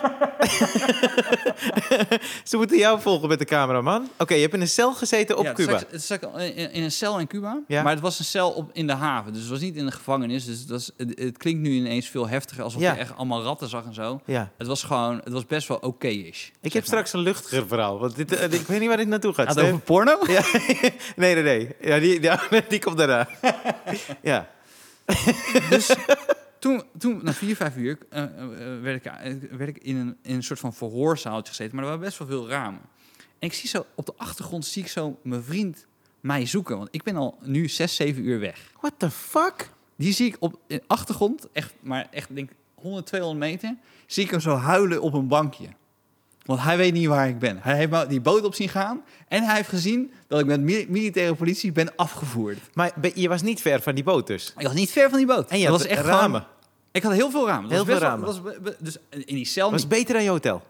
C: Ze moeten jou volgen met de cameraman. Oké, je hebt in een cel gezeten op
B: Ja, het
C: Cuba.
B: zat- het zat in, in een cel in Cuba,
C: Ja.
B: maar het was een cel op, in de haven. Dus het was niet in de gevangenis. Dus het, was, het, het klinkt nu ineens veel heftiger, alsof
C: Ja.
B: je echt allemaal ratten zag en zo.
C: Ja.
B: Het was gewoon, het was best wel oké-ish.
C: Ik heb straks een luchtiger verhaal. Want dit, eh, ik weet niet waar dit naartoe gaat.
B: Gaat het
C: Steven.
B: over porno?
C: Ja, nee, nee, nee. Ja, die, die, die komt daarna. ja.
B: dus toen, toen, na vier, vijf uur, eh, eh, werd, ik, eh, werd ik in een, in een soort van verhoorzaaltje gezeten. Maar er waren best wel veel ramen. En ik zie zo, op de achtergrond zie ik zo mijn vriend mij zoeken. Want ik ben al nu zes, zeven uur weg.
C: What the fuck?
B: Die zie ik op in de achtergrond, echt, maar echt denk ik 100, 200 meter, zie ik hem zo huilen op een bankje. Want hij weet niet waar ik ben. Hij heeft me die boot op zien gaan en hij heeft gezien dat ik met mili- militaire politie ben afgevoerd.
C: Maar ben- je was niet ver van die boot dus.
B: Ik was niet ver van die boot.
C: En je
B: Dat
C: had
B: was echt gewoon-
C: ramen.
B: ik had heel veel ramen. Dat
C: Heel
B: was
C: veel
B: best wel- dat was be- be- dus in die cel
C: was
B: niet.
C: beter dan je hotel.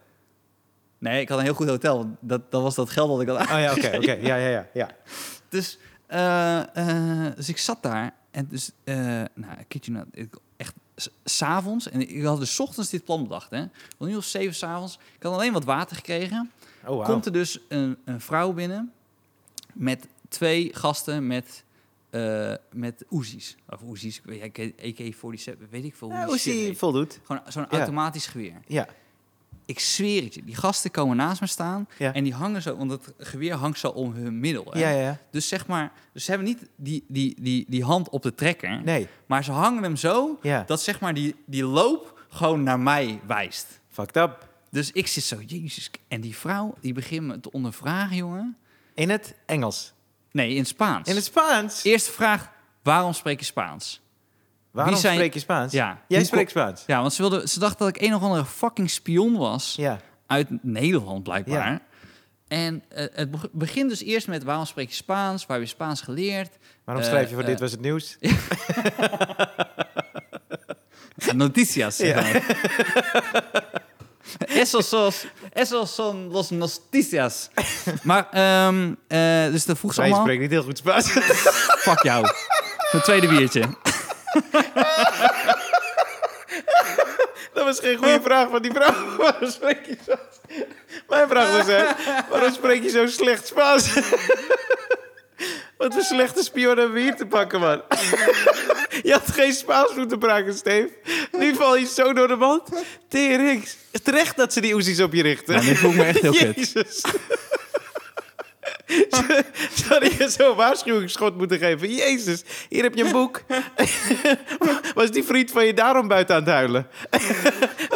B: Nee, ik had een heel goed hotel. want Dat, dat was dat geld dat ik had.
C: Oh ja, oké. oké. Ja, ja, ja, ja.
B: Dus, eh, eh, dus ik zat daar en dus, eh nou, ik kid you not, ik- echt s- s'avonds. En ik had dus 's ochtends dit plan bedacht, hè. Van nu of zeven s'avonds. Ik had alleen wat water gekregen.
C: Oh, wauw.
B: Komt er dus een, een vrouw binnen met twee gasten met, eh met Oezies. Of Oezies, ik weet- AK-47, weet ik veel hoe
C: Ja,
B: die
C: hoe is
B: Oh, shit
C: die
B: heet.
C: Nou, voldoet.
B: Gewoon zo'n
C: Ja.
B: automatisch geweer.
C: Ja.
B: Ik zweer het je, die gasten komen naast me staan
C: Ja.
B: en die hangen zo, want het geweer hangt zo om hun middel. Hè?
C: ja, ja, ja.
B: Dus zeg maar, dus ze hebben niet die, die, die, die hand op de trekker,
C: Nee.
B: maar ze hangen hem zo
C: Ja.
B: dat zeg maar die, die loop gewoon naar mij wijst.
C: Fucked up.
B: Dus ik zit zo, jezus. En die vrouw, die begint me te ondervragen, jongen.
C: In het Engels.
B: Nee, in Spaans.
C: In het Spaans.
B: Eerste vraag, waarom spreek je Spaans?
C: Waarom
B: Wie zijn-
C: spreek je Spaans?
B: Ja.
C: Jij
B: Hoe
C: spreekt Spaans.
B: Ja, want ze, wilde, ze dacht dat ik een of andere fucking spion was
C: Ja.
B: uit Nederland blijkbaar. En eh, het beg- begint dus eerst met, waarom spreek je Spaans? Waar heb je Spaans geleerd?
C: Waarom
B: Eh,
C: schrijf je voor
B: eh,
C: dit was het nieuws?
B: Noticias.
C: Ja.
B: Esos, sos- esos son los noticias. Maar, ehm, eh, dus dan vroeg ze
C: Wij
B: allemaal...
C: spreekt niet heel goed Spaans.
B: Fuck jou. Mijn tweede biertje.
C: Dat was geen goede vraag van die vrouw. Waarom spreek je zo... Mijn vraag was, hè, waarom spreek je zo slecht Spaans? Wat een slechte spion hebben we hier te pakken, man. Je had geen Spaans moeten praten, Steve. Nu val je zo door de mand. T-Rex. Terecht dat ze die oezies op je richten.
B: Nou, nu voel ik me echt heel kut.
C: Jezus. Ze hadden je zo'n waarschuwingsschot moeten geven. Jezus, hier heb je een boek. Was die vriend van je daarom buiten aan het huilen?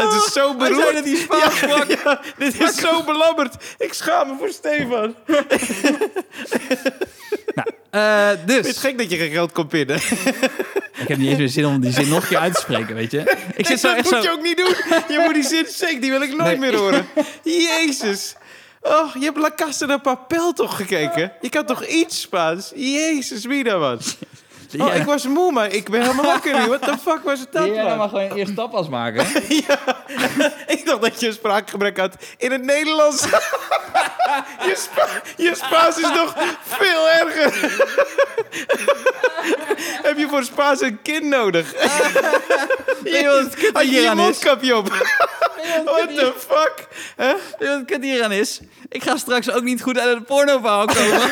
C: Het is
B: Hij zei
C: zo beroerd.
B: dat hij Spaans sprak.
C: Ja, dit is zo belabberd. Ik schaam me voor Stefan.
B: Eh,
C: Het is
B: dus,
C: gek dat je geen geld kon pinnen.
B: ik heb niet eens meer zin om die zin nog een keer uit te spreken, weet je. Ik zit zo
C: dat
B: echt
C: moet
B: zo...
C: je ook niet doen. Je moet die zin shake, die wil ik nooit
B: Nee.
C: meer horen. Jezus. Oh, je hebt La Casa de Papel toch gekeken? Je kan toch iets Spaans? Jezus, wie dat was. Oh,
B: Ja.
C: ik was moe, maar ik ben helemaal wakker nu. What the fuck was het dat,
B: Leer jij nou
C: man?
B: maar gewoon eerst tapas maken.
C: Ik dacht dat je een spraakgebrek had in het Nederlands. je, spa- je Spaans is nog veel erger. Heb je voor Spaans een kind nodig?
B: je wat het kutte
C: had je je
B: hieraan is?
C: mondkapje op? What the fuck? Hè?
B: Weet je wat het kut hieraan is? Ik ga straks ook niet goed uit het pornoverhaal komen.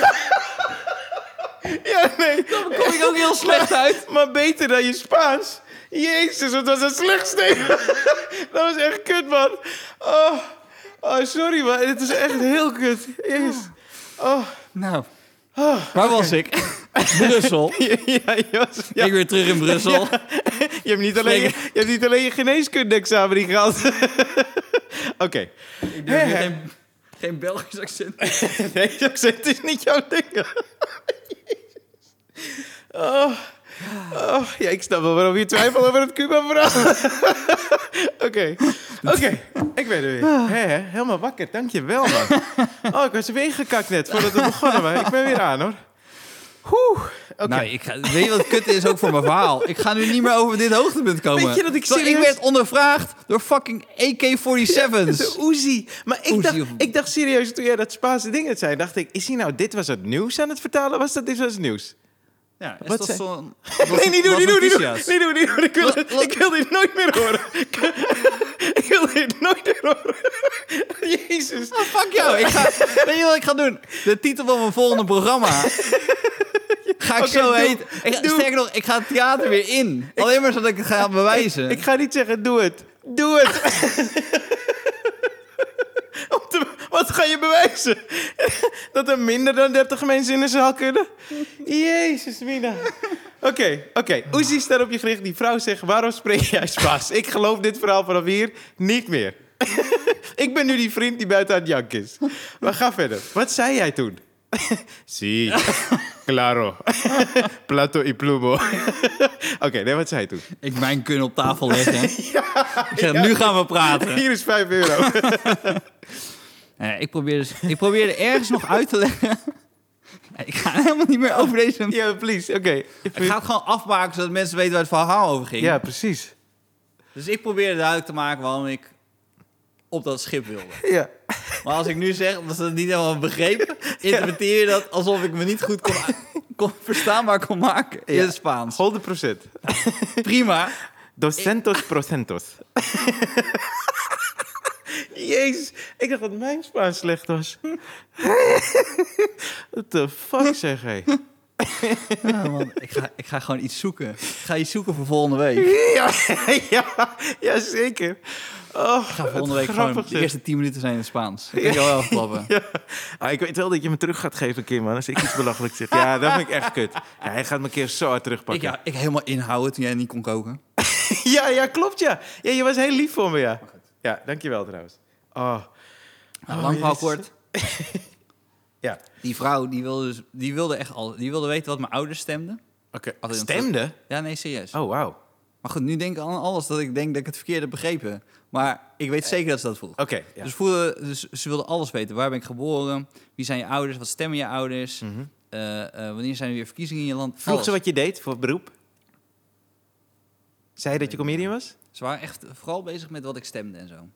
C: Ja, nee.
B: Daar kom ik ook heel slecht uit.
C: Maar beter dan je Spaans. Jezus, wat was dat slecht, Steven. dat was echt kut, man. Oh, oh sorry, man. Het is echt heel kut. Jezus. Oh.
B: Nou,
C: Ah,
B: waar was ik? Brussel.
C: Ja, je was- ja.
B: Ik weer terug in Brussel.
C: Je hebt niet alleen je, hebt niet alleen je geneeskunde-examen niet gehaald. Oké.
B: Ik durf weer geen, geen Belgisch accent.
C: Nee, dat is- het is niet jouw ding. Oh. Oh, ja, ik snap wel waarom je twijfelt over het Cuba-verhaal. Oké, oké. Ik ben er weer. Hé, hé, helemaal wakker. Dank je wel, man. Oh, ik was weer ingekakt net voordat we begonnen, maar ik ben weer aan, hoor. Oeh, oké.
B: Nou, ik ga, weet je wat kut is ook voor mijn verhaal? Ik ga nu niet meer over dit hoogtepunt komen.
C: Weet je dat ik
B: Want
C: serieus-
B: werd ondervraagd door fucking AK-47's.
C: De Uzi. Maar ik,
B: Dus- Uzi
C: dacht,
B: of-
C: ik dacht serieus, toen jij dat Spaanse ding het zei, dacht ik, is hij nou dit was het nieuws aan het vertalen? Was dat dit was het nieuws?
B: Ja, is
C: Wat
B: dat
C: zei-
B: zo'n...
C: Nee, niet doen, niet doen, niet doen.
B: Mazochistia's.
C: Niet doen, niet doen. Ik wil,
B: Wat-
C: dit-
B: wat-
C: ik wil dit nooit meer horen. Ik, ik wil dit nooit meer horen. Jezus.
B: Oh, fuck jou. Ik ga, weet je wat ik ga doen? De titel van mijn volgende programma. Ga ik
C: Oké,
B: zo
C: doe.
B: heten. Ik ga-
C: Doe.
B: Sterker nog, ik ga het theater weer in. Alleen maar zodat ik het ga bewijzen.
C: Ik ga niet zeggen, doe het. Doe het. Om te- Wat ga je bewijzen? Dat er minder dan 30 mensen in een zaal kunnen? Jezus, Mina. Oké, oké. Oezie staat op je gericht. Die vrouw zegt, waarom spreek jij Spaans? Ik geloof dit verhaal vanaf hier niet meer. Ik ben nu die vriend die buiten aan het janken is. Maar ga verder. Wat zei jij toen? Si, claro. Plato y plumo. Oké, nee, wat zei je toen?
B: Ik mijn kunnen op tafel leggen. ik zeg, nu gaan we praten.
C: Hier is 5 euro.
B: Eh, ik, probeer dus, ik probeerde ergens nog uit te leggen. Eh, ik ga helemaal niet meer over deze...
C: Ja, please. Oké.
B: Ik ga het gewoon afmaken zodat mensen weten waar het verhaal over ging.
C: Ja, precies.
B: Dus ik probeerde duidelijk te maken waarom ik op dat schip wilde.
C: Ja.
B: Maar als ik nu zeg dat ze het niet helemaal begrepen, interpreteer je dat alsof ik me niet goed kon, kon verstaanbaar kon maken in
C: Ja.
B: het Spaans.
C: 100%.
B: Prima.
C: Docentos procentos. Jezus, ik dacht dat mijn Spaans slecht was. What the fuck zeg hij? Ah,
B: Ja, man, ik, ga, ik ga gewoon iets zoeken. Ik ga iets zoeken voor volgende week.
C: Ja, ja, ja, zeker. Oh,
B: Ik ga volgende week gewoon de eerste 10 minuten zijn in het Spaans. Dat kan je wel afklappen.
C: Ja. Ah, ik weet wel dat je me terug gaat geven, Kim, man. Als ik iets belachelijk zeg. Ja, dat vind ik echt kut. Ja, hij gaat me een keer zo hard
B: Ik,
C: terugpakken.
B: ja, ik helemaal inhouden toen jij niet kon koken.
C: Ja, ja, klopt ja. Ja, je was heel lief voor me,
B: Oh,
C: ja. Ja, dankjewel trouwens. Oh,
B: Nou,
C: Oh,
B: lang verhaal
C: jezus.
B: kort.
C: ja.
B: Die vrouw die wilde, dus, die wilde echt al, die wilde weten wat mijn ouders stemden.
C: Oké.
B: Altijd een
C: Stemde?
B: Ja, nee, serieus.
C: Oh, wauw. Oké,
B: Maar goed, nu denk ik aan alles dat ik denk dat ik het verkeerd heb begrepen. Maar ik weet zeker dat ze dat vroeg.
C: Oh, ja.
B: Dus, voelde, dus ze wilde alles weten. Waar ben ik geboren? Wie zijn je ouders? Wat stemmen je ouders? Eh, eh, wanneer zijn er weer verkiezingen in je land?
C: Mhm. Vroeg
B: Alles.
C: ze wat je deed voor beroep? Zei je dat je comedian was?
B: Ze waren echt vooral bezig met wat ik stemde en zo.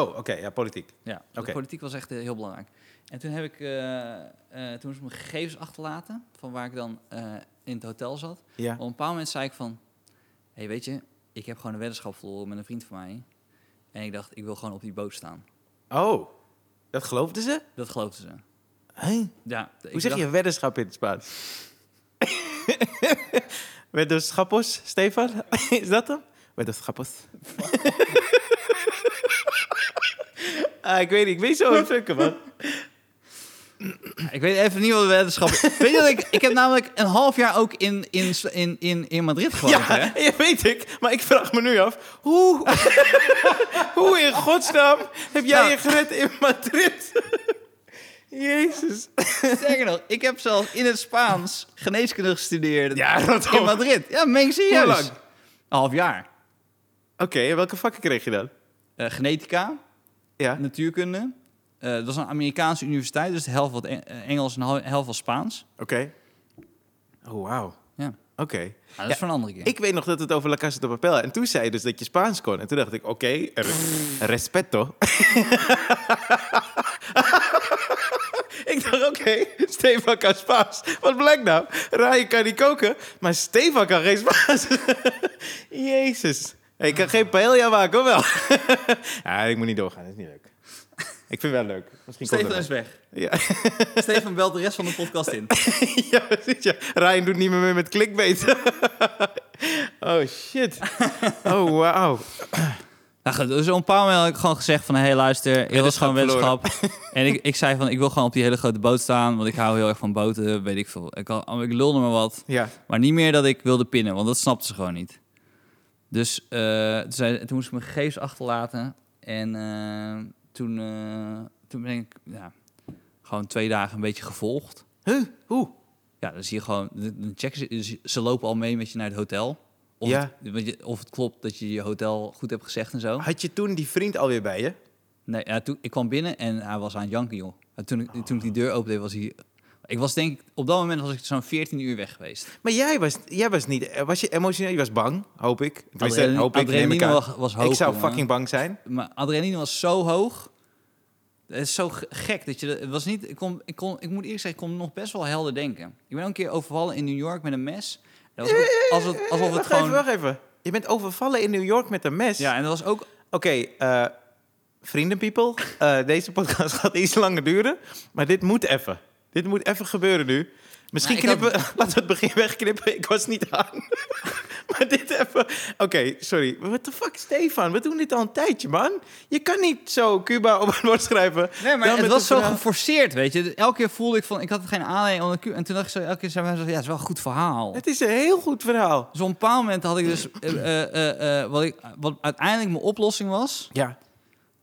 C: Oh, oké, ja, politiek.
B: Ja,
C: Oké.
B: de politiek was echt eh, heel belangrijk. En toen heb ik, eh, eh, toen ze mijn gegevens achterlaten van waar ik dan eh, in het hotel zat.
C: Ja.
B: Op een bepaald moment zei ik van... Hé, hey, weet je, ik heb gewoon een weddenschap verloren met een vriend van mij. En ik dacht, ik wil gewoon op die boot staan.
C: Oh, dat geloofden ze?
B: Dat geloofden ze.
C: Hé?
B: Ja, ik
C: Hoe zeg
B: dacht-
C: je weddenschap in het Spaans? Weddenschappos, Stefan? Is dat hem? Weddenschappos. ah, ik weet niet, ik weet zo even fucken, man.
B: Ik weet even niet wat de weddenschap is. weet je dat ik, ik heb namelijk een half jaar ook in, in, in, in, in Madrid gewoond,
C: Ja,
B: hè?
C: ja, weet ik. Maar ik vraag me nu af, hoe, hoe in godsnaam heb jij
B: Nou.
C: je gered in Madrid? Jezus.
B: Sterker nog, ik heb zelfs in het Spaans geneeskunde gestudeerd
C: Ja, dat
B: in Madrid. Ja, meen ik serieus.
C: Hoe lang?
B: Een half jaar.
C: Oké, en welke vakken kreeg je dan?
B: Eh, genetica,
C: Ja.
B: natuurkunde. Eh, dat was een Amerikaanse universiteit, dus de helft was Eng- eh, Engels en de helft was Spaans.
C: Oké. Oh, wauw.
B: Ja,
C: Oké.
B: Nou, dat is voor een andere keer.
C: Ik weet nog dat het over La Casa de Papel... En toen zei je dus dat je Spaans kon. En toen dacht ik, oké, re- respeto. ik dacht, oké, Stefan kan Spaans. Wat blijkt nou? Ryan kan niet koken, maar Stefan kan geen Spaans. Jezus. Ik kan geen paella maken, of wel? ja, ik moet niet doorgaan, dat is niet leuk. Ik vind het wel leuk. Misschien komt
B: Stefan
C: het
B: is weg.
C: wel. ja.
B: Stefan belt de rest van de podcast in.
C: ja, precies. Ja. Ryan doet niet meer mee met clickbait. oh, shit. Oh, wauw.
B: Nou goed, dus op een bepaald moment had ik gewoon gezegd van... hé, hey, luister, ik was gewoon
C: Weddenschap
B: weddenschap. en ik, ik zei van, ik wil gewoon op die hele grote boot staan... want ik hou heel erg van boten, weet ik veel. Ik, had- ik lulde me wat.
C: Ja.
B: Maar niet meer dat ik wilde pinnen, want dat snapte ze gewoon niet. Dus eh, toen, zei, toen moest ik mijn gegevens achterlaten. En eh, toen, eh, toen ben ik ja, gewoon twee dagen een beetje gevolgd.
C: Huh? Hoe?
B: Ja, dan zie je gewoon, dan checken ze, dus ze lopen al mee met je naar het hotel. Of,
C: Ja.
B: het, want je- of het klopt dat je je hotel goed hebt gezegd en zo.
C: Had je toen die vriend alweer bij je?
B: Nee, ja, toen, ik kwam binnen en hij was aan het janken, joh. En toen, ik- toen ik die deur opende, was hij... Ik was denk ik, op dat moment was ik zo'n 14 uur weg geweest.
C: Maar jij was, jij was niet... eh, Was je emotioneel? Je was bang, hoop ik. Tenminste,
B: Adrenaline-
C: hoop ik, neem ik
B: adrenaline
C: aan.
B: was, was hoog.
C: ik zou
B: jongen.
C: fucking bang zijn.
B: Maar adrenaline was zo hoog. Het is zo ge- gek dat je... dat- Het was niet... Ik, kon, ik, kon, ik moet eerlijk zeggen, ik kon nog best wel helder denken. Ik ben ook een keer overvallen in New York met een mes. Dat was ook- als het, alsof het
C: wacht
B: gewoon...
C: even, wacht even. Je bent overvallen in New York met een mes.
B: Ja, en dat was ook...
C: Oké, eh, vrienden people. eh, deze podcast gaat iets langer duren. Maar dit moet even. Dit moet even gebeuren nu. Misschien
B: Maar Nou, ik had-
C: knippen... Laten we het begin wegknippen. Ik was niet aan. maar dit even... Oké, sorry. What the fuck, Stefan? We doen dit al een tijdje, man. Je kan niet zo Cuba op het woord schrijven.
B: Nee, maar
C: Dan
B: het
C: met
B: was
C: een
B: zo
C: verhaal-
B: geforceerd, weet je. Dus Elke keer voelde ik van... Ik had geen aanleiding om een ku- En toen dacht ik zo... Elke keer zei mijn zo... Ja, het is wel een goed verhaal.
C: Het is een heel goed verhaal.
B: Dus op een bepaald moment had ik dus... eh, eh, eh, eh, wat, ik, wat uiteindelijk mijn oplossing was...
C: Ja.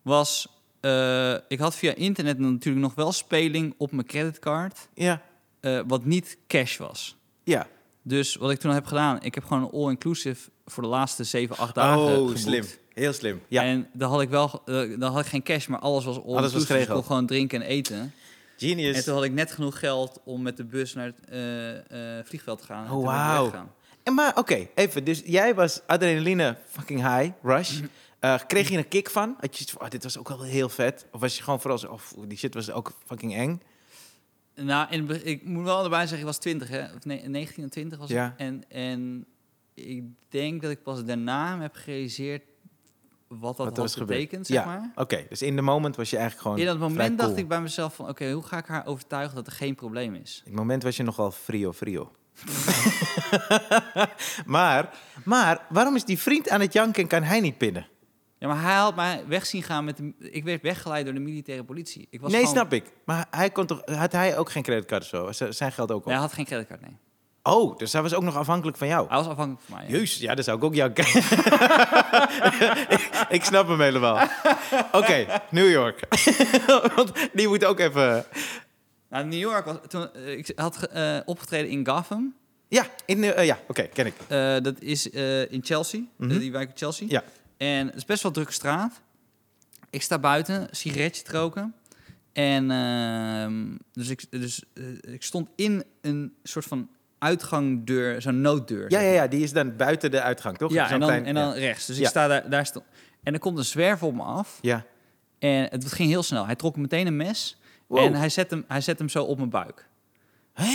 B: Was... eh, ik had via internet natuurlijk nog wel speling op mijn creditcard...
C: Ja.
B: eh, wat niet cash was.
C: Ja.
B: Dus wat ik toen heb gedaan... Ik heb gewoon een all-inclusive voor de laatste 7, 8 dagen
C: Oh,
B: geboekt.
C: slim. Heel slim. Ja.
B: En dan had ik wel... eh, dan had ik geen cash, maar alles was all-inclusive. ik
C: geregeld.
B: kon gewoon drinken en eten. En
C: Genius.
B: toen had ik net genoeg geld om met de bus naar het eh, eh, vliegveld te gaan. En
C: Oh,
B: toen ben ik
C: wauw.
B: weggegaan.
C: En maar oké, even. Dus jij was adrenaline fucking high, rush.
B: Mhm.
C: Eh, kreeg je een kick van? Had je iets van, oh, dit was ook wel heel vet? Of was je gewoon vooral zo, oh, foe, die shit was ook fucking eng?
B: Nou, en be- ik moet wel erbij zeggen, ik was 20, hè? Of nee, 19 en 20 was
C: Ja.
B: ik. En, en ik denk dat ik pas daarna heb gerealiseerd wat dat
C: Wat er
B: had
C: was gebeurd.
B: betekend, zeg
C: Ja.
B: maar.
C: Oké, dus in de moment was je eigenlijk gewoon
B: In dat moment
C: vrij cool.
B: dacht ik bij mezelf van, oké, hoe ga ik haar overtuigen dat er geen probleem is?
C: In het moment was je nogal frio, frio. maar, maar, waarom is die vriend aan het janken en kan hij niet pinnen?
B: Ja, maar hij had mij weg zien gaan met... De, ik werd weggeleid door de militaire politie. Ik was
C: nee,
B: gewoon-
C: snap ik. Maar hij kon toch, had hij ook geen creditcard of zo? Z- Zijn geld ook op?
B: Nee, hij had geen creditcard, nee.
C: Oh, dus hij was ook nog afhankelijk van jou?
B: Hij was afhankelijk van mij. ja.
C: Jezus, ja, dat zou ik ook janken. ik, ik snap hem helemaal. Oké, New York. Want die moet ook even...
B: Nou, New York was toen eh, ik had ge- eh, opgetreden in Gotham.
C: Ja, in, eh, eh, ja oké, ken ik.
B: Eh, dat is eh, in Chelsea,
C: Mhm.
B: eh, die wijk in Chelsea.
C: Ja.
B: En het is best wel drukke straat. Ik sta buiten, een sigaretje te roken. En ehm, dus, ik, dus eh, ik stond in een soort van uitgangdeur, zo'n nooddeur.
C: Ja,
B: zeg
C: ja, ja, die is dan buiten de uitgang, toch?
B: Ja,
C: Zo'n
B: en dan,
C: klein-
B: en dan rechts. Dus ik
C: Ja.
B: sta daar, daar stond. En er komt een zwerver op me af.
C: Ja.
B: En het ging heel snel. Hij trok meteen een mes.
C: Wow.
B: En hij zet, hem, hij zet hem zo op mijn buik. Eh,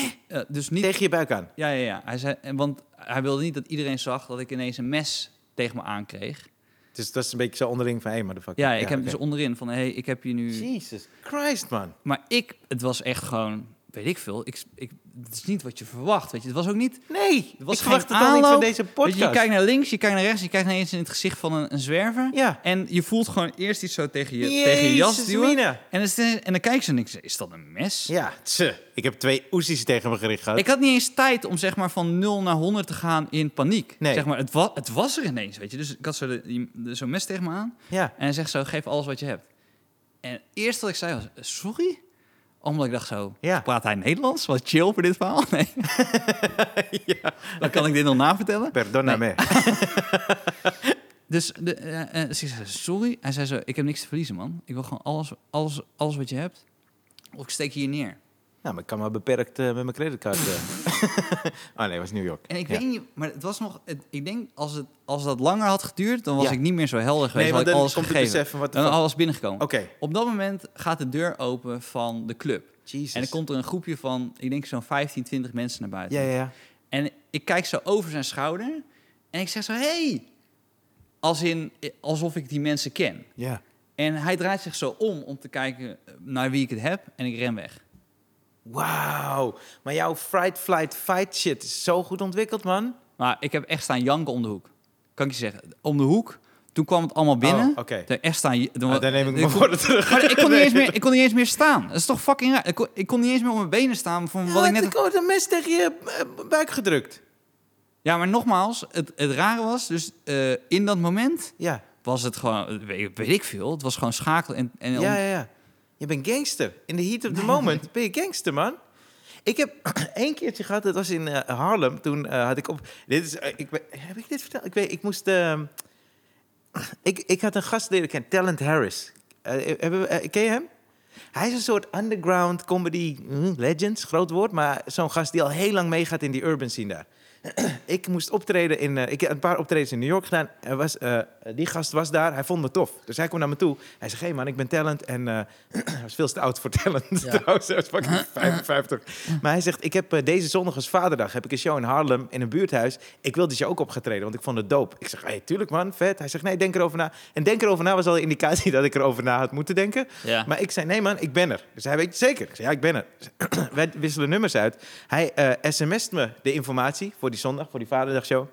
B: dus niet
C: Tegen je buik aan.
B: Ja, ja, ja. Hij zei, en want hij wilde niet dat iedereen zag dat ik ineens een mes tegen me aankreeg.
C: Dus dat is een beetje zo onderling van, hé, maar de fuck.
B: Ja, ik heb hem
C: oké.
B: dus onderin van, hé, hey, ik heb je nu...
C: Jesus Christ, man.
B: Maar ik, het was echt gewoon, weet ik veel, ik, ik, het is niet wat je verwacht, weet je. Het was ook niet...
C: Nee,
B: was
C: ik
B: geen
C: verwacht het al niet van
B: aanloop.
C: deze
B: Weet
C: podcast.
B: je, je kijkt naar links, je kijkt naar rechts, je kijkt ineens in het gezicht van een, een zwerver.
C: Ja.
B: En je voelt gewoon eerst iets zo tegen je,
C: Jezus,
B: tegen je jas duwen.
C: Mina.
B: En, het is- en dan kijk ze en ik zeg, is dat een mes?
C: Ja, tse. Ik heb twee oesies tegen me gericht gehad.
B: Ik had niet eens tijd om zeg maar van 0 naar 100 te gaan in paniek.
C: Nee.
B: Zeg maar, het, wa- het was er ineens, weet je. Dus ik had zo de- die- de- zo'n mes tegen me aan.
C: Ja.
B: En hij zegt zo, geef alles wat je hebt. En het eerste wat ik zei was, eh, sorry? Omdat ik dacht zo,
C: Ja.
B: praat hij Nederlands? Wat chill voor dit verhaal? Nee. Dan kan ik dit nog navertellen.
C: Perdona me.
B: Dus, de, eh, eh, dus ik zei, sorry. Hij zei zo, ik heb niks te verliezen, man. Ik wil gewoon alles, alles, alles wat je hebt. Of ik steek je hier neer.
C: Nou, maar ik kan maar beperkt eh, met mijn creditcard. eh. oh nee, was New York.
B: En ik
C: Ja.
B: weet niet, maar het was nog. het- ik denk als, het, als dat langer had geduurd, dan was
C: Ja.
B: ik niet meer zo helder geweest.
C: Nee, want
B: had ik
C: dan
B: alles
C: komt het
B: gegeven.
C: besef van wat de
B: dan
C: fuck-
B: alles binnengekomen.
C: Oké.
B: Op dat moment gaat de deur open van de club.
C: Jesus.
B: En er komt er een groepje van, ik denk zo'n 15, 20 mensen naar buiten.
C: Ja, ja, ja.
B: En ik kijk zo over zijn schouder en ik zeg zo: Hey! Als in, eh, alsof ik die mensen ken.
C: ja.
B: En hij draait zich zo om om te kijken naar wie ik het heb en ik ren weg.
C: Wauw. Maar jouw fright, flight, fight shit is zo goed ontwikkeld, man.
B: Maar ik heb echt staan janken om de hoek. Kan ik je zeggen. Om de hoek. Toen kwam het allemaal binnen.
C: Oh, oké.
B: Toen Echt staan... j- Toen,
C: Ah, dan neem ik mijn
B: kon-
C: woorden terug.
B: Maar ik kon, niet eens meer, ik kon niet eens meer staan. Dat is toch fucking raar. Ik kon, ik kon niet eens meer op mijn benen staan van wat ik net...
C: Ik een mes tegen je eh, buik gedrukt.
B: Ja, maar nogmaals, het, het rare was, dus eh, in dat moment
C: Ja.
B: was het gewoon, weet, weet ik veel, het was gewoon schakelen. En, en
C: Ja, ja, ja. Je bent gangster. In the heat of the moment ben je gangster, man. Ik heb één keertje gehad, dat was in eh, Harlem. Toen eh, had ik op. Dit is, eh, ik, ben- heb ik dit verteld? Ik weet, ik moest. ehm, ik, ik had een gast leren kennen, Talent Harris. Eh, hebben we- eh, ken je hem? Hij is een soort underground comedy hm, legends, groot woord, maar zo'n gast die al heel lang meegaat in die urban scene daar. ik moest optreden in, eh, ik heb een paar optredens in New York gedaan. Er was, eh, die gast was daar, hij vond me tof. Dus hij kwam naar me toe. Hij zegt, hé man, ik ben talent en eh, hij was veel te oud voor talent
B: Ja.
C: trouwens. Hij was fucking 55. maar hij zegt, ik heb eh, deze zondag als vaderdag heb ik een show in Harlem in een buurthuis. Ik wil die show ook opgetreden, want ik vond het dope. Ik zeg, hey, tuurlijk man, vet. Hij zegt, nee, denk erover na. En denk erover na was al een indicatie dat ik erover na had moeten denken.
B: Ja.
C: Maar ik zei, nee man, ik ben er. Dus hij weet zeker. Ik zei, ja, ik ben er. Wij wisselen nummers uit. Hij eh sms't me de informatie voor die zondag, voor die vaderdagshow.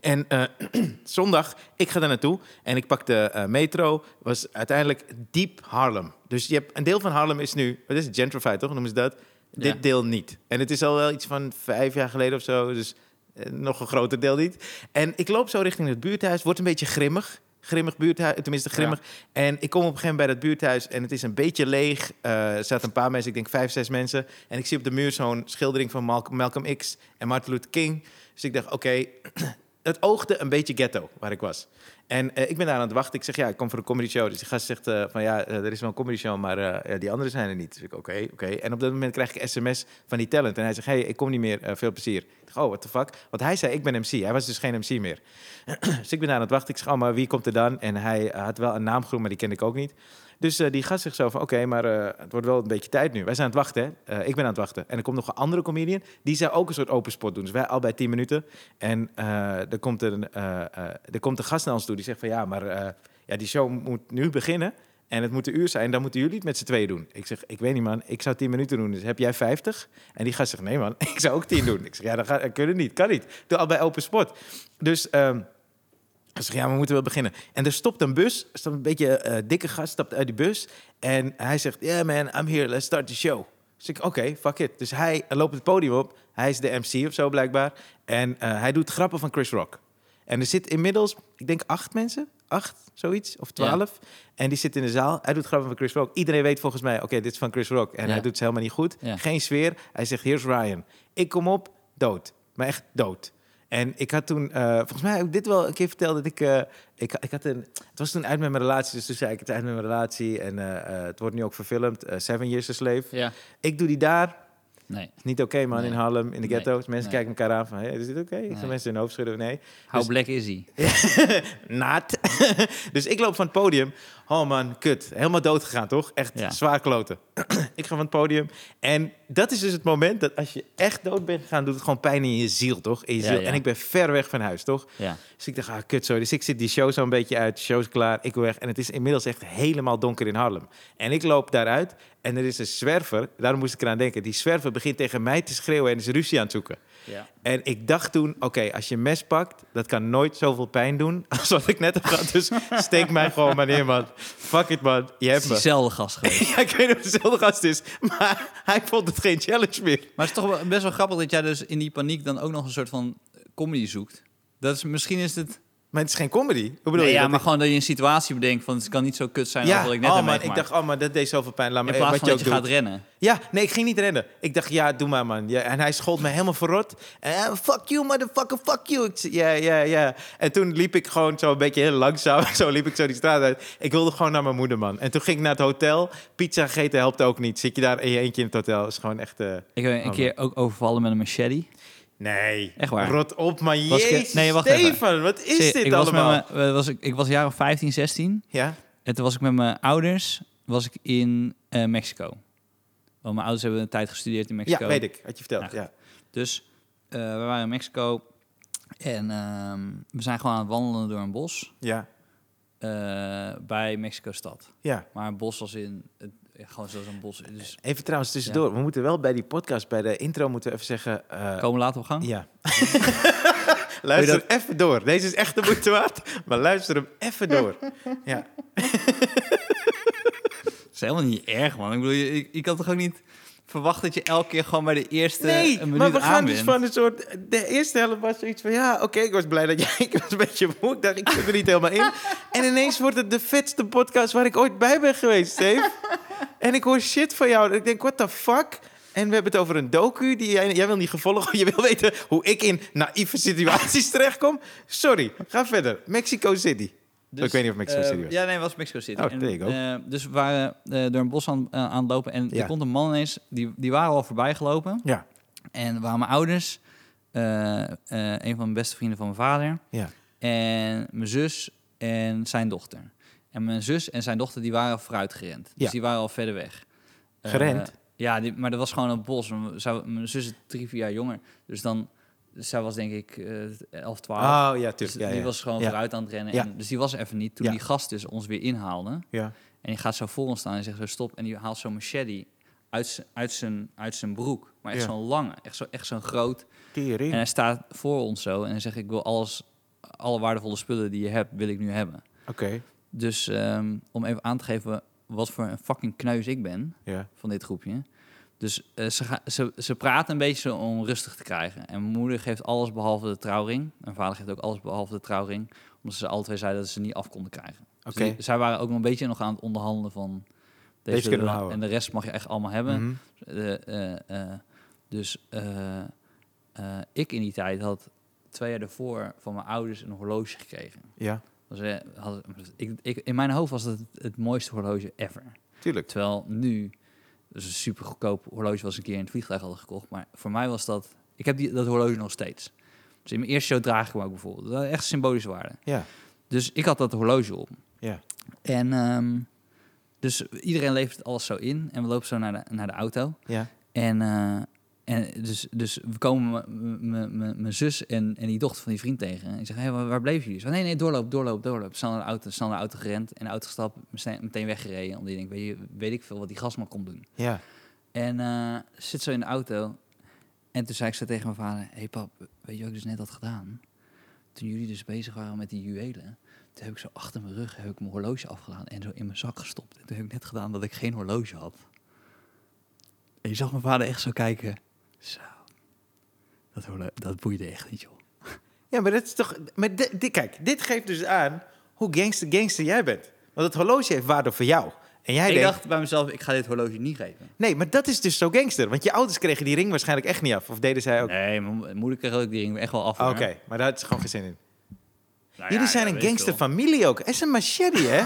C: En eh, zondag, ik ga daar naartoe en ik pak de eh, metro. was uiteindelijk diep Harlem. Dus je hebt, een deel van Harlem is nu, wat is het, gentrified toch, noemen ze dat?
B: Ja.
C: Dit deel niet. En het is al wel iets van vijf jaar geleden of zo, dus eh, nog een groter deel niet. En ik loop zo richting het buurthuis, wordt een beetje grimmig. Grimmig buurthuis, tenminste grimmig. En ik kom op een gegeven moment bij dat buurthuis en het is een beetje leeg. Eh, er zaten een paar mensen, ik denk vijf, zes mensen. En ik zie op de muur zo'n schildering van Mal- Malcolm X en Martin Luther King. Dus ik dacht, oké, het oogde een beetje ghetto waar ik was. En eh, ik ben daar aan het wachten. Ik zeg, ja, ik kom voor een comedy show. Dus die gast zegt eh, van, ja, eh, er is wel een comedy show, maar eh, ja, die anderen zijn er niet. Dus ik, oké, oké. En op dat moment krijg ik sms van die talent. En hij zegt, hey, ik kom niet meer, eh, veel plezier. Ik dacht, oh, what the fuck. Want hij zei, ik ben MC. Hij was dus geen MC meer. dus ik ben daar aan het wachten. Ik zeg, oh, maar wie komt er dan? En hij eh, had wel een naamgroep, maar die kende ik ook niet. Dus eh, die gast zegt zo van, oké, maar eh, het wordt wel een beetje tijd nu. Wij zijn aan het wachten, hè. Eh, ik ben aan het wachten. En er komt nog een andere comedian, die zou ook een soort open spot doen. Dus wij allebei 10 minuten. En eh, er, komt een, eh, eh, er komt een gast naar ons toe die zegt van ja, maar eh, ja, die show moet nu beginnen. En het moet een uur zijn, dan moeten jullie het met z'n tweeën doen. Ik zeg, ik weet niet man, ik zou 10 minuten doen. Dus heb jij 50? En die gast zegt, nee man, ik zou ook 10 doen. Ik zeg, ja, dan ga, dat kunnen niet, kan niet. Doe al bij open spot. Dus ehm hij zegt, ja, we moeten wel beginnen. En er stopt een bus, er stapt een beetje eh, dikke gast, stapt uit die bus. En hij zegt, yeah man, I'm here, let's start the show. Dus ik, oké, fuck it. Dus hij loopt het podium op, hij is de MC of zo blijkbaar. En eh, hij doet grappen van Chris Rock. En er zit inmiddels, ik denk acht mensen, acht, zoiets, of
B: Ja.
C: twaalf. En die zit in de zaal, hij doet grappen van Chris Rock. Iedereen weet volgens mij, oké, dit is van Chris Rock. En
B: Ja.
C: hij doet het helemaal niet goed.
B: Ja.
C: Geen sfeer. Hij zegt, here's Ryan. Ik kom op, dood. Maar echt dood. En ik had toen, eh, volgens mij heb ik dit wel een keer verteld, dat ik, eh, ik, ik had een, het was toen uit met mijn relatie, dus toen zei ik het is uit met mijn relatie en eh, eh, het wordt nu ook verfilmd, eh, Seven Years a Slave.
B: Ja.
C: Ik doe die daar,
B: Nee.
C: is niet oké man,
B: Nee.
C: in Harlem, in
B: Nee.
C: de ghetto. Dus mensen
B: Nee.
C: kijken elkaar aan van, hey, is dit oké? Ik ga
B: Nee.
C: mensen hun hoofd schudden, nee.
B: How black is hij?
C: Naad. dus ik loop van het podium. Oh man, kut. Helemaal dood gegaan, toch? Echt
B: Ja.
C: zwaar kloten. ik ga van het podium. En dat is dus het moment dat als je echt dood bent gegaan... doet het gewoon pijn in je ziel, toch? In je
B: Ja,
C: ziel.
B: ja.
C: En ik ben ver weg van huis, toch?
B: Ja.
C: Dus ik dacht, ah, kut zo. Dus ik zit die show zo'n beetje uit. De show is klaar, ik wil weg. En het is inmiddels echt helemaal donker in Harlem. En ik loop daaruit en er is een zwerver. Daarom moest ik eraan denken. Die zwerver begint tegen mij te schreeuwen en is ruzie aan het zoeken.
B: Ja.
C: En ik dacht toen, oké, als je een mes pakt, dat kan nooit zoveel pijn doen als wat ik net heb gehad. Dus steek mij gewoon maar neer, man. Fuck it, man. Je
B: Het is
C: hebt me.
B: diezelfde gast geweest.
C: Ja, ik weet niet of het dezelfde gast is, maar hij vond het geen challenge meer.
B: Maar het is toch wel best wel grappig dat jij dus in die paniek dan ook nog een soort van comedy zoekt. Dat is, misschien is het...
C: Maar het is geen comedy. Hoe bedoel
B: Nee,
C: je?
B: ja,
C: dat
B: maar
C: ik-
B: gewoon dat je een situatie bedenkt van het kan niet zo kut zijn
C: ja,
B: als wat ik net
C: oh,
B: heb
C: man, ik
B: meegemaakt.
C: dacht, oh, maar dat deed zoveel pijn. Laat me
B: In
C: eh,
B: plaats
C: wat
B: van
C: je
B: dat
C: ook
B: je
C: doet.
B: gaat rennen.
C: Ja, nee, ik ging niet rennen. Ik dacht, ja, doe maar, man. Ja, en hij schold me helemaal verrot. Eh, fuck you, motherfucker, fuck you. Ik zei, ja, ja, ja. En toen liep ik gewoon zo een beetje heel langzaam. Zo liep ik zo die straat uit. Ik wilde gewoon naar mijn moeder, man. En toen ging ik naar het hotel. Pizza gegeten helpt ook niet. Zit je daar in je eentje in het hotel. is gewoon echt... eh,
B: Ik ben een
C: Oh,
B: keer ook overvallen met een machete.
C: nee.
B: Echt waar.
C: Rot op, man.
B: Was ik-
C: Jezus,
B: nee, wacht even.
C: Stefan. Wat is
B: Zie,
C: dit
B: ik was, met
C: allemaal?
B: mijn- eh, was, ik, ik was een jaar of 15, 16.
C: Ja?
B: En toen was ik met mijn ouders was ik in eh, Mexico. Want mijn ouders hebben een tijd gestudeerd in Mexico.
C: ja, weet ik. Had je verteld, ja.
B: Dus eh, we waren in Mexico. En ehm, we zijn gewoon aan het wandelen door een bos.
C: Ja,
B: eh, bij Mexico stad.
C: ja.
B: Maar een bos was in... Het, gewoon zoals een bos. Dus
C: Even trouwens tussendoor. We moeten wel bij die podcast, bij de intro moeten we even zeggen... eh,
B: komen we later op gang?
C: Ja. luister even door. Deze is echt de moeite waard. Maar luister hem even door. Ja.
B: Dat is helemaal niet erg, man. Ik bedoel, je, ik, ik had toch ook niet verwacht dat je elke keer gewoon bij de eerste
C: Nee,
B: een minuut
C: maar we gaan
B: aan
C: dus
B: bent.
C: van een soort... De eerste helft was zoiets van... Ja, oké, ik was blij dat jij... Ik was een beetje moe. Ik dacht, ik zit er niet helemaal in. En ineens wordt het de vetste podcast waar ik ooit bij ben geweest, Steve. En ik hoor shit van jou. En ik denk, what the fuck? En we hebben het over een docu die jij, jij wil niet gevolgen. Je wil weten hoe ik in naïeve situaties terechtkom. Sorry, ga verder. Mexico City.
B: Dus,
C: ik weet niet of Mexico
B: eh,
C: City was.
B: Ja, nee, het was Mexico City.
C: Oh, there you
B: eh, dus we waren eh, door een bos aan, aan het lopen en
C: Ja.
B: er komt een man ineens, die, die waren al voorbij gelopen.
C: Ja.
B: En waren mijn ouders, eh, eh, een van mijn beste vrienden van mijn vader,
C: Ja.
B: en mijn zus en zijn dochter. En mijn zus en zijn dochter, die waren al vooruit gerend. Dus
C: Ja.
B: die waren al verder weg. Eh,
C: Gerend?
B: ja, die- maar dat was gewoon een bos. Mijn- zij- Mijn zus is drie, vier jaar jonger. Dus dan, zij was denk ik eh, 11, 12.
C: Oh ja,
B: Dus
C: tuurlijk. Ja,
B: die
C: ja.
B: was gewoon
C: Ja.
B: vooruit aan het rennen.
C: Ja.
B: En, dus die was er even niet. Toen
C: Ja.
B: die gast dus ons weer inhaalde.
C: Ja.
B: En die gaat zo voor ons staan en zegt zo stop. En die haalt zo'n machete uit zijn, uit zijn, uit zijn broek. Maar echt
C: Ja.
B: zo'n lange. Echt zo'n echt zo'n groot.
C: Tering.
B: En hij staat voor ons zo. En hij zegt ik wil alles, alle waardevolle spullen die je hebt, wil ik nu hebben.
C: Oké.
B: Dus ehm, om even aan te geven wat voor een fucking kneus ik ben
C: Ja.
B: van dit groepje. Dus eh, ze, ga- ze, ze praten een beetje om rustig te krijgen. En mijn moeder geeft alles behalve de trouwring. Mijn vader geeft ook alles behalve de trouwring. Omdat ze alle twee zeiden dat ze niet af konden krijgen. Dus
C: Oké.
B: die- zij waren ook nog een beetje nog aan het onderhandelen van...
C: Deze
B: willen
C: kunnen we
B: we-
C: houden.
B: En de rest mag je echt allemaal hebben.
C: Mhm.
B: Eh, eh, eh, dus eh, eh, ik in die tijd had twee jaar daarvoor van mijn ouders een horloge gekregen.
C: Ja,
B: Dus, eh, had, ik, ik, in mijn hoofd was dat het, het mooiste horloge ever.
C: tuurlijk.
B: Terwijl nu, dus een super goedkoop horloge was een keer in het vliegtuig hadden gekocht. Maar voor mij was dat, ik heb die, dat horloge nog steeds. Dus in mijn eerste show draag ik hem ook bijvoorbeeld. Dat had echt symbolische waarde.
C: Ja.
B: Dus ik had dat horloge op.
C: Ja.
B: En ehm, dus iedereen levert alles zo in. En we lopen zo naar de, naar de auto.
C: Ja.
B: En, eh, en dus, dus we komen m- m- m- mijn zus en, en die dochter van die vriend tegen. En ik zeg, hey, waar, waar bleven jullie? Ze zeggen, nee, nee, doorloop, doorloop, doorloop. Snel naar de auto, snel naar de auto gerend. En de auto gestapt, meteen meteen weggereden. Omdat je denkt, weet, je, weet ik veel wat die gastman komt doen.
C: Ja.
B: En eh, zit zo in de auto. En toen zei ik zo tegen mijn vader... Hé hey pap, weet je wat ik dus net had gedaan? Toen jullie dus bezig waren met die juwelen... Toen heb ik zo achter mijn rug heb ik mijn horloge afgedaan... en zo in mijn zak gestopt. En toen heb ik net gedaan dat ik geen horloge had. En je zag mijn vader echt zo kijken. Zo. Dat, horlo- dat boeide echt niet, joh.
C: Ja, maar dat is toch. Maar di- di- kijk, dit geeft dus aan hoe gangster gangster jij bent. Want het horloge heeft waarde voor jou. En jij
B: ik
C: denkt.
B: dacht bij mezelf, ik ga dit horloge niet geven.
C: Nee, maar dat is dus zo gangster. Want je ouders kregen die ring waarschijnlijk echt niet af. Of deden zij ook.
B: Nee, mijn mo- mijn moeder kreeg ook die ring echt wel af.
C: Ah,
B: hoor.
C: Oké, maar daar had ze gewoon geen zin in.
B: Nou
C: jullie
B: ja,
C: zijn
B: ja,
C: een
B: weet ik veel.
C: gangsterfamilie ook. Het is een machete, hè?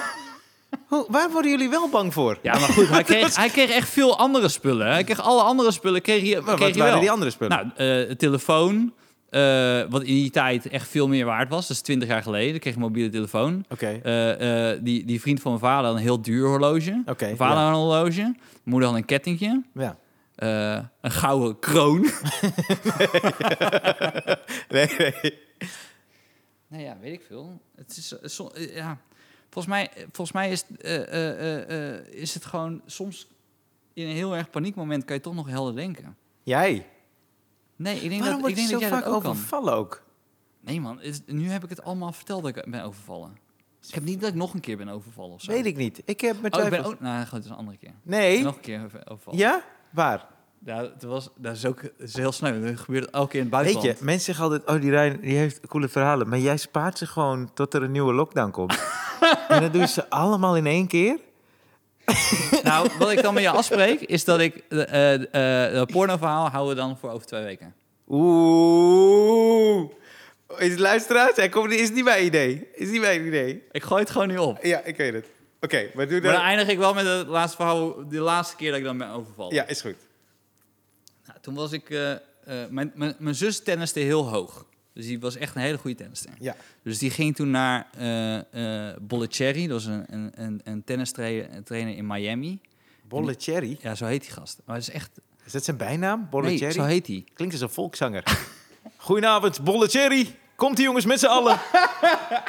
C: Hoe, waar worden jullie wel bang voor?
B: Ja, maar goed, hij kreeg, hij kreeg echt veel andere spullen. Hij kreeg alle andere spullen. Kreeg hij,
C: Maar
B: kreeg
C: wat
B: hij
C: waren
B: wel.
C: die andere spullen?
B: Nou, eh, een telefoon, eh, wat in die tijd echt veel meer waard was. Dat is 20 jaar geleden. Ik kreeg een mobiele telefoon.
C: Oké.
B: Eh, eh, die, die vriend van mijn vader had een heel duur horloge.
C: Oké,
B: Mijn vader
C: ja.
B: had een horloge. Mijn moeder had een kettingje.
C: Ja.
B: Eh, een gouden kroon.
C: Nee, nee.
B: nou ja, weet ik veel. Het is, eh, som- eh, ja. volgens, mij, volgens mij is, eh, eh, eh, eh, is het gewoon soms in een heel erg paniekmoment kan je toch nog helder denken.
C: Jij.
B: Nee, ik denk
C: Waarom
B: dat,
C: word
B: ik denk
C: je zo
B: dat jij
C: vaak
B: dat ook kan.
C: overvallen ook?
B: Nee man, is- nu heb ik het allemaal verteld dat ik ben overvallen. Dus Ik heb niet dat ik nog een keer ben overvallen of zo.
C: Weet ik niet. Ik heb mijn
B: oh, ik
C: twijfels.
B: ben ook... Nou, goed, dat is een andere keer.
C: Nee.
B: Nog een keer over- overvallen.
C: Ja? Waar?
B: Ja, het was, dat is ook het is heel snel. Dat gebeurt elke keer in het
C: Weet
B: buitenland.
C: je, mensen zeggen altijd, oh die Rijn die heeft coole verhalen. Maar jij spaart ze gewoon tot er een nieuwe lockdown komt. en dat doen ze allemaal in één keer.
B: Nou, wat ik dan met je afspreek, is dat ik... eh eh, eh, dat pornoverhaal houden we dan voor over twee weken.
C: Oeh. Is luisteraars, hij komt, is niet mijn idee. Is niet mijn idee.
B: Ik gooi het gewoon nu op.
C: Ja, ik weet het. Oké, maar doe
B: Maar dan
C: dat.
B: eindig ik wel met het laatste verhaal, de laatste keer dat ik dan ben overvallen.
C: Ja, is goed.
B: Nou, toen was ik... eh, eh, mijn, mijn, mijn zus tenniste heel hoog. Dus die was echt een hele goede tennister.
C: Ja.
B: Dus die ging toen naar eh eh Bollettieri, dat was een, een, een, een tennistrainer trainer in Miami.
C: Bolle Cherry.
B: Ja, zo heet die gast. Maar het is echt...
C: Is dat zijn bijnaam? Bolle
B: nee,
C: Cherry?
B: zo heet die.
C: Klinkt als een volkszanger. Goedenavond, Bolle Cherry. Komt die jongens met z'n allen.
B: is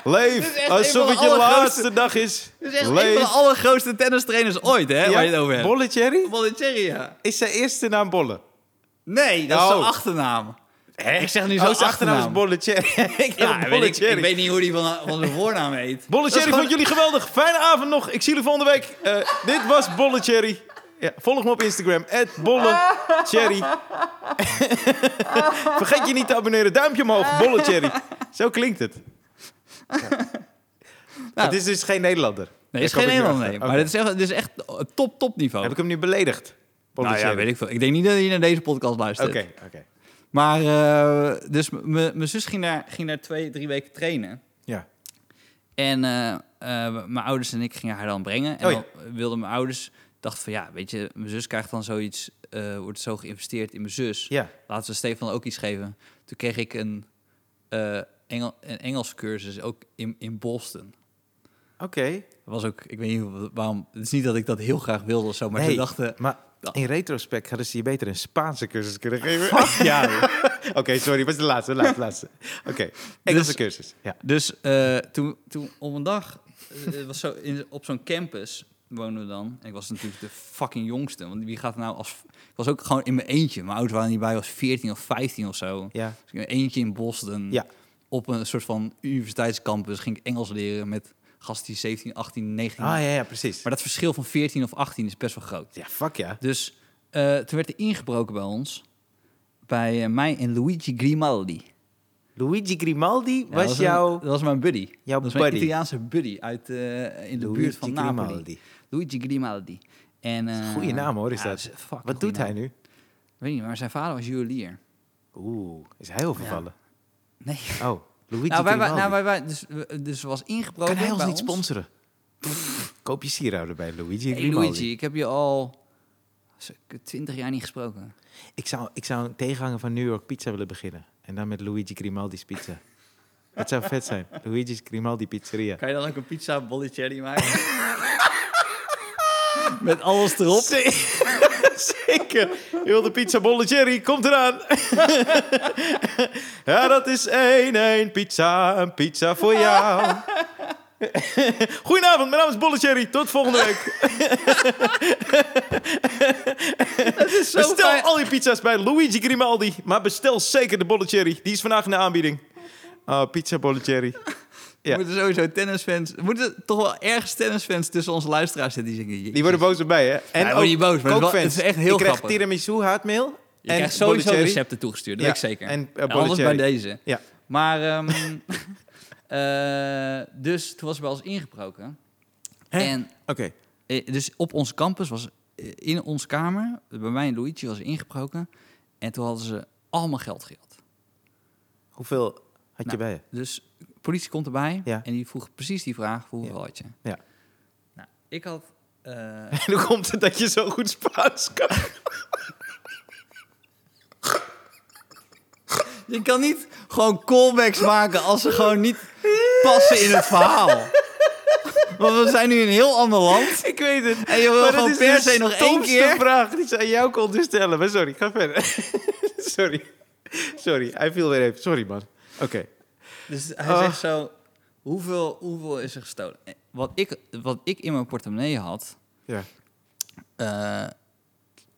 C: Leef,
B: echt
C: alsof
B: een
C: het
B: van
C: je
B: de
C: laatste dag is.
B: Dat is echt een van de allergrootste tennistrainers ooit, hè? Waar je het over hebt.
C: Bolle Cherry?
B: Bollettieri, ja.
C: Is zijn eerste naam Bolle?
B: Nee, dat is zijn
C: Oh.
B: achternaam. Ik zeg nu
C: Zo
B: zo'n
C: Oh, zijn achternaam is
B: achternaam.
C: Bolle Cherry. ik
B: ja,
C: ja,
B: weet
C: Bolle
B: ik, ik
C: Cherry.
B: weet niet hoe die van, van zijn voornaam heet.
C: Bolle
B: Dat is
C: Cherry,
B: gewoon-
C: vond jullie geweldig. Fijne avond nog. Ik zie jullie volgende week. Eh, dit was Bolle Cherry. Ja, volg me op Instagram, Bolle Cherry. Vergeet je niet te abonneren. Duimpje omhoog, Bolle Cherry. Zo klinkt het.
B: Nou.
C: het is dus geen Nederlander.
B: Nee, het is
C: Daar
B: geen
C: kom ik nu
B: Nederlander,
C: achter.
B: nee.
C: Oké.
B: Maar dit is echt, dit is echt top, top niveau.
C: Heb ik hem nu beledigd?
B: Nou ja,
C: Potentieel.
B: weet ik veel. Ik denk niet dat hij naar deze podcast luistert.
C: Oké, oké.
B: Maar, eh, dus m- m- mijn zus ging daar, ging daar twee, drie weken trainen.
C: Ja.
B: En eh, eh, mijn ouders en ik gingen haar dan brengen. En
C: Oh ja.
B: dan wilden mijn ouders, dachten van ja, weet je, mijn zus krijgt dan zoiets, eh, wordt zo geïnvesteerd in mijn zus.
C: Ja.
B: Laten we Stefan ook iets geven. Toen kreeg ik een, eh, Engel, een Engels cursus, ook in, in Boston.
C: Oké.
B: Dat was ook, ik weet niet hoe- waarom, het is niet dat ik dat heel graag wilde of zo, maar
C: Nee.
B: ze dachten,
C: Maar
B: Ja.
C: in retrospect hadden ze je beter een Spaanse cursus kunnen geven.
B: fuck ja.
C: Oké, sorry, was de laatste, laatste, laatste. Oké, Engelse cursus. Ja.
B: Dus eh, toen, toen op een dag, eh, het was zo in, op zo'n campus woonden we dan. En ik was natuurlijk de fucking jongste, want wie gaat nou als... Ik was ook gewoon in mijn eentje. Mijn ouders waren niet bij, ik was 14 of 15 of zo.
C: ja.
B: Dus ik in mijn eentje in Boston,
C: Ja.
B: op een soort van universiteitscampus, ging ik Engels leren met gasten die 17, 18, 19...
C: Ah, ja, ja, precies.
B: Maar dat verschil van 14 of 18 is best wel groot.
C: Ja, fuck ja.
B: Dus eh, toen werd er ingebroken bij ons, bij eh, mij en Luigi Grimaldi.
C: Luigi Grimaldi
B: Ja,
C: was,
B: dat
C: jouw...
B: een- dat was mijn buddy.
C: jouw
B: dat was mijn
C: buddy.
B: Italiaanse buddy uit, eh, in de buurt van
C: Luigi
B: Napoli. Luigi Grimaldi. En, eh,
C: Goeie naam, hoor, is dat.
B: een fucking
C: Wat
B: goeie
C: doet hij
B: naam.
C: nu?
B: Weet niet, maar zijn vader was juwelier.
C: Oeh, is hij overvallen?
B: Nee.
C: Oh, Luigi
B: Nou, wij,
C: Grimaldi.
B: nou, wij, wij, dus, we- dus er was ingebroken
C: kan hij ons
B: bij
C: niet sponsoren? Koop je sieraden bij Luigi
B: Hey,
C: Grimaldi.
B: Luigi, ik heb je al twintig jaar niet gesproken.
C: Ik, zou, ik zou een tegenhanger van New York Pizza willen beginnen. En dan met Luigi Grimaldi's pizza. Dat zou vet zijn. Luigi's Grimaldi Pizzeria.
B: Kan je dan ook een pizza bollicelli maken? Met alles erop.
C: Zeker. Heel de pizza bolle Jerry komt eraan. ja, dat is één, één pizza. Een pizza voor jou. Goedenavond, mijn naam is Bolle Jerry. Tot volgende week.
B: Zo
C: Bestel
B: fijn.
C: al je pizza's bij Luigi Grimaldi. Maar bestel zeker de Bolle Jerry. Die is vandaag in de aanbieding. Oh, pizza Bolle Jerry. ja.
B: Moeten sowieso tennisfans... er Moeten toch wel ergens tennisfans tussen onze luisteraars zitten die zeggen...
C: Die worden boos op mij, hè? En
B: die worden niet boos, maar het is wel- het is echt heel
C: Ik krijg
B: grappig.
C: tiramisu haatmeel.
B: Je krijgt
C: Bolle
B: sowieso
C: Jerry.
B: recepten toegestuurd, dat
C: Ja,
B: weet ik zeker.
C: en,
B: En,
C: eh, Bolle
B: anders bij
C: Cherry.
B: deze.
C: Ja.
B: Maar, ehm, eh, dus toen was er bij ons ingebroken.
C: Hè?
B: En
C: Oké.
B: eh, dus op onze campus was, eh, in onze kamer, bij mij en Luigi was er ingebroken. En toen hadden ze allemaal geld gehad.
C: Hoeveel had
B: Nou,
C: je bij je?
B: Dus de politie komt erbij
C: Ja.
B: en die vroeg precies die vraag, hoeveel had je?
C: Ja.
B: Nou, ik had... eh,
C: En hoe komt het dat je zo goed Spaans kan?
B: Je kan niet gewoon callbacks maken als ze gewoon niet passen in het verhaal. Want we zijn nu in een heel ander land.
C: Ik weet het.
B: En je wil
C: Maar
B: gewoon
C: dat
B: per
C: is
B: se
C: de
B: nog één
C: stomste
B: keer.
C: vraag die ze aan jou konden stellen. Maar sorry, ga verder. sorry. Sorry, hij viel weer even. Sorry, man. Oké.
B: Dus hij
C: Ah.
B: zegt zo, hoeveel, hoeveel is er gestolen? Eh, Wat ik, wat ik in mijn portemonnee had,
C: Ja.
B: eh,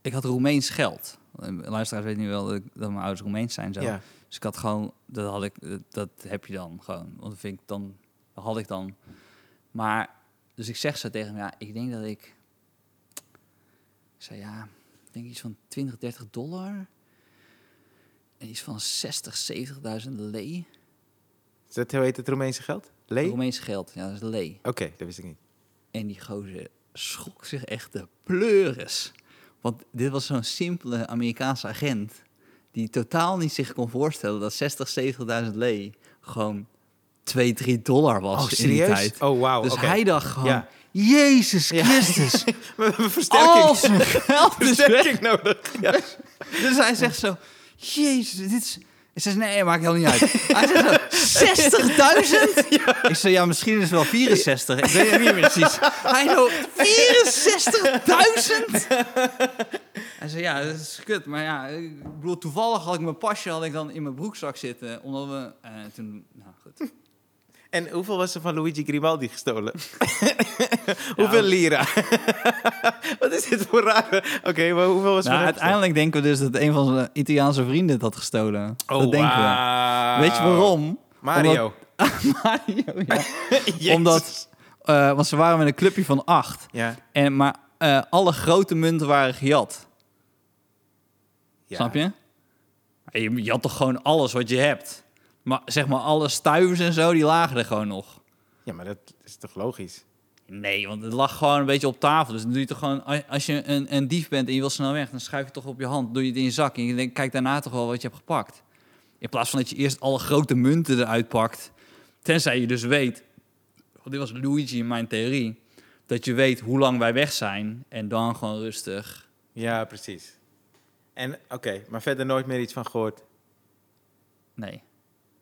B: ik had Roemeens geld. Eh, Luisteraars weten nu wel dat, ik- dat mijn ouders Roemeens zijn. Zo.
C: ja.
B: Dus ik had gewoon, dat had ik, dat heb je dan gewoon. Want dat vind ik dan, dat had ik dan. Maar, dus ik zeg zo tegen hem, ja, ik denk dat ik, ik zei ja, ik denk iets van 20, 30 dollar. En iets van 60, 70.000 lee.
C: Is dat hoe heet het Roemeense geld? Lee? Oké,
B: Roemeens geld, ja, dat is lee.
C: dat wist ik niet.
B: En die gozer schrok zich echt de pleuris. Want dit was zo'n simpele Amerikaanse agent... die totaal niet zich kon voorstellen dat 60, 70.000 lee... gewoon 2, 3 dollar was
C: oh,
B: in die
C: serieus?
B: tijd.
C: Oh, wauw.
B: dus
C: oké.
B: hij dacht gewoon...
C: Ja.
B: Jezus Christus,
C: We hebben versterking.
B: al zijn geld is weg.
C: versterking nodig. Ja.
B: Dus hij zegt zo... Jezus, dit is... Ik zeg, nee, maakt helemaal niet uit. Hij zegt zo, 60.000? Ik zei, ja, misschien is het wel 64. Ik weet het niet meer precies. Hij zo, 64.000? Hij zei, ja, dat is kut. Maar ja, ik bedoel, toevallig had ik mijn pasje had ik dan in mijn broekzak zitten. Omdat we... eh, toen, nou, goed.
C: En hoeveel was er van Luigi Grimaldi gestolen? hoeveel lira? Wat is dit voor rare... Oké, maar hoeveel was er van hem gestolen?
B: Nou, denken we dus dat een van zijn Italiaanse vrienden het had gestolen.
C: Oh, wauw. Mario.
B: Mario. Mario, ja.
C: Jezus.
B: Omdat, eh, want ze waren met een clubje van acht.
C: Ja.
B: En, maar eh, alle grote munten waren gejat.
C: Ja.
B: Snap je? je? Je had toch gewoon alles wat je hebt. Maar zeg maar alle stuivers en zo, die lagen er gewoon nog.
C: Ja, maar dat is toch logisch?
B: Nee, want het lag gewoon een beetje op tafel. Dus dan doe je toch gewoon, a- als je een, een dief bent en je wil snel weg, dan schuif je toch op je hand, doe je het in je zak en je denkt, kijk daarna toch wel wat je hebt gepakt. In plaats van dat je eerst alle grote munten eruit pakt, tenzij je dus weet, want dit was Luigi in mijn theorie, dat je weet hoe lang wij weg zijn en dan gewoon rustig.
C: Ja, precies. En oké, maar verder nooit meer iets van gehoord.
B: Nee.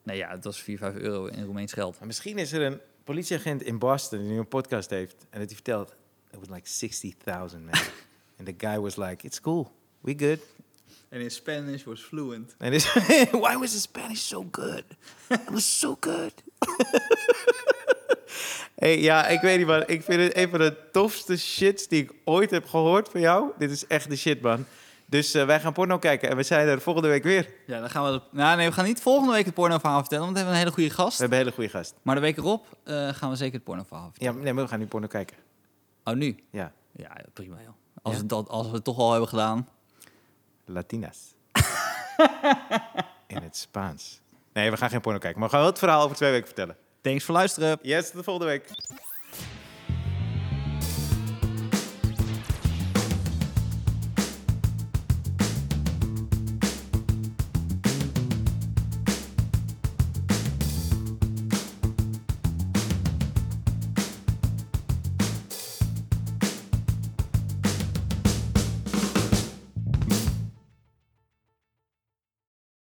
B: Nee, ja, het was 4, 5 euro in Roemeens geld.
C: Maar misschien is er een politieagent in Boston die nu een podcast heeft en dat hij vertelt, it was like 60.000 man. And the guy was like, it's cool, we good.
B: En in Spanish was fluent.
C: And it's, why was the Spanish so good? It was so good. hey, ja, ik weet niet man, ik vind het een van de tofste shits die ik ooit heb gehoord van jou. Dit is echt de shit man. Dus eh, wij gaan porno kijken en we zijn er volgende week weer. We
B: Ja, dan gaan we... de- Nou, nee, we gaan niet volgende week het pornoverhaal vertellen, want we hebben een hele goede gast.
C: hebben een hele goede gast.
B: Maar de week erop eh, gaan we zeker het pornoverhaal vertellen.
C: Ja, nee, maar we gaan nu porno kijken.
B: Oh, nu?
C: Ja,
B: Ja, prima joh. Als,
C: Ja?
B: we dat, als we het toch al hebben gedaan.
C: Latinas. In het Spaans. Nee, we gaan geen porno kijken, maar we gaan wel het verhaal over twee weken vertellen.
B: Thanks voor luisteren.
C: Yes, tot de volgende week.